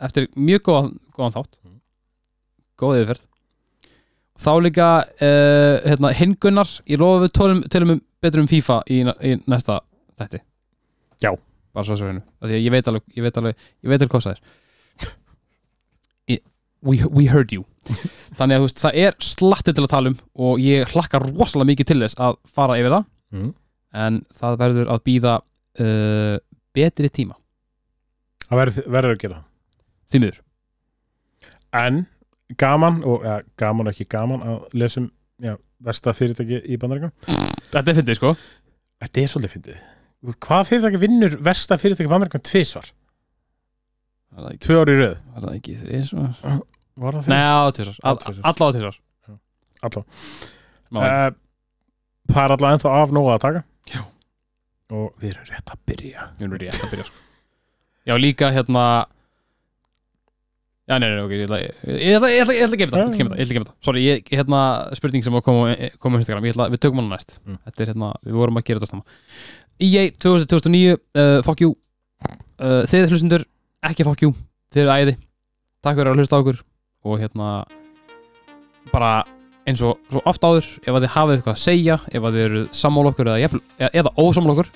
Speaker 1: eftir mjög góðan, góðan þátt
Speaker 2: Mm.
Speaker 1: góð yfirferð og þá líka uh, hérna, hingunnar, ég lofa við tölum, tölum um betur um FIFA í, í næsta þætti
Speaker 2: Já.
Speaker 1: bara svo svo hennu því að ég veit alveg ég veit alveg ég veit alveg hvað [LAUGHS] það er we, we heard you [LAUGHS] þannig að þú veist það er slatti til að tala um og ég hlakka rosalega mikið til þess að fara yfir það
Speaker 2: mm.
Speaker 1: en það verður að býða uh, betri tíma
Speaker 2: það verður, verður að gera
Speaker 1: því miður
Speaker 2: en gaman og ja, gaman og ekki gaman að lesum já, versta fyrirtæki í bandaríkan
Speaker 1: þetta er fyndið sko
Speaker 2: þetta er svolítið fyndið hvað fyrirtæki vinnur versta fyrirtæki í bandaríkan tvisvar?
Speaker 1: var það ekki,
Speaker 2: tvö ári í röð
Speaker 1: var það ekki þrísvar
Speaker 2: var það
Speaker 1: nei á tvisar
Speaker 2: Á tvisvar.
Speaker 1: alla á tvisar
Speaker 2: Alla.
Speaker 1: uh,
Speaker 2: uh, það er alltaf ennþá af nóga að taka
Speaker 1: Já.
Speaker 2: og við erum rétt að byrja sko.
Speaker 1: já líka hérna já nei nei nei, ok ég ætla ég ætla ég ætla ég ætla að gefa það ég ætla að gefa það ég ætla að gefa það sorry ég hérna spurning sem kom á- kom á Instagram ég ætla við tökum hana næst
Speaker 2: Mm.
Speaker 1: þetta er hérna við vorum að gera þetta saman E EA 2000 2009 uh, fuck you uh, þið hlustundur ekki fuck you þið eru æði takk fyrir að hlusta á okkur og hérna bara eins og svo oft áður ef að þið hafið eitthvað að segja ef að þið eru sammála okkur eða, jafnvel- eða, eða ósammála okkur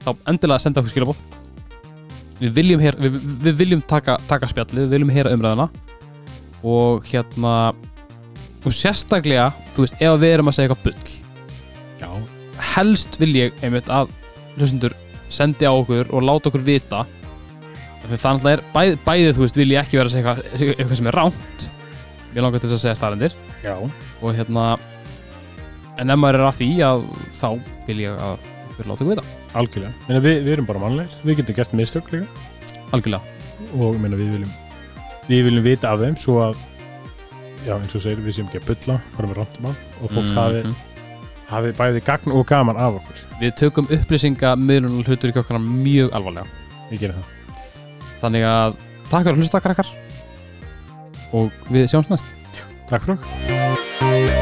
Speaker 1: þá endilega senda okkur skilabóð við viljum, her, við, við- við viljum taka, taka spjallið, við viljum heyra umræðina og hérna og sérstaklega, þú veist, ef við erum að segja eitthvað bull
Speaker 2: já,
Speaker 1: helst vil ég einmitt að hlustundur sendi á okkur og láta okkur vita þannig þannig er bæði, bæði þú veist vil ég ekki vera að segja eitthvað- segja eitthvað sem er ránt ég langar til þess að segja staðrendir
Speaker 2: já
Speaker 1: og hérna en ef maður er að því að þá vil ég að við láta okkur vita
Speaker 2: algjörlega, Meina, við, við erum bara mannlegir við getum gert mistök líka
Speaker 1: algjörlega
Speaker 2: og meina, við, viljum, við viljum vita af þeim svo að já, eins og þú segir, við séum ekki að bulla farum við randum á og fólk hafi,
Speaker 1: Mhm.
Speaker 2: hafi bæði gagn og gaman af okkur
Speaker 1: við tökum upplýsinga miðlunar hlutur í okkar mjög alvarlega
Speaker 2: ég gerir það,
Speaker 1: þannig að takk fyrir að hlusta krakkar og við sjáumst næst
Speaker 2: takk fyrir okkur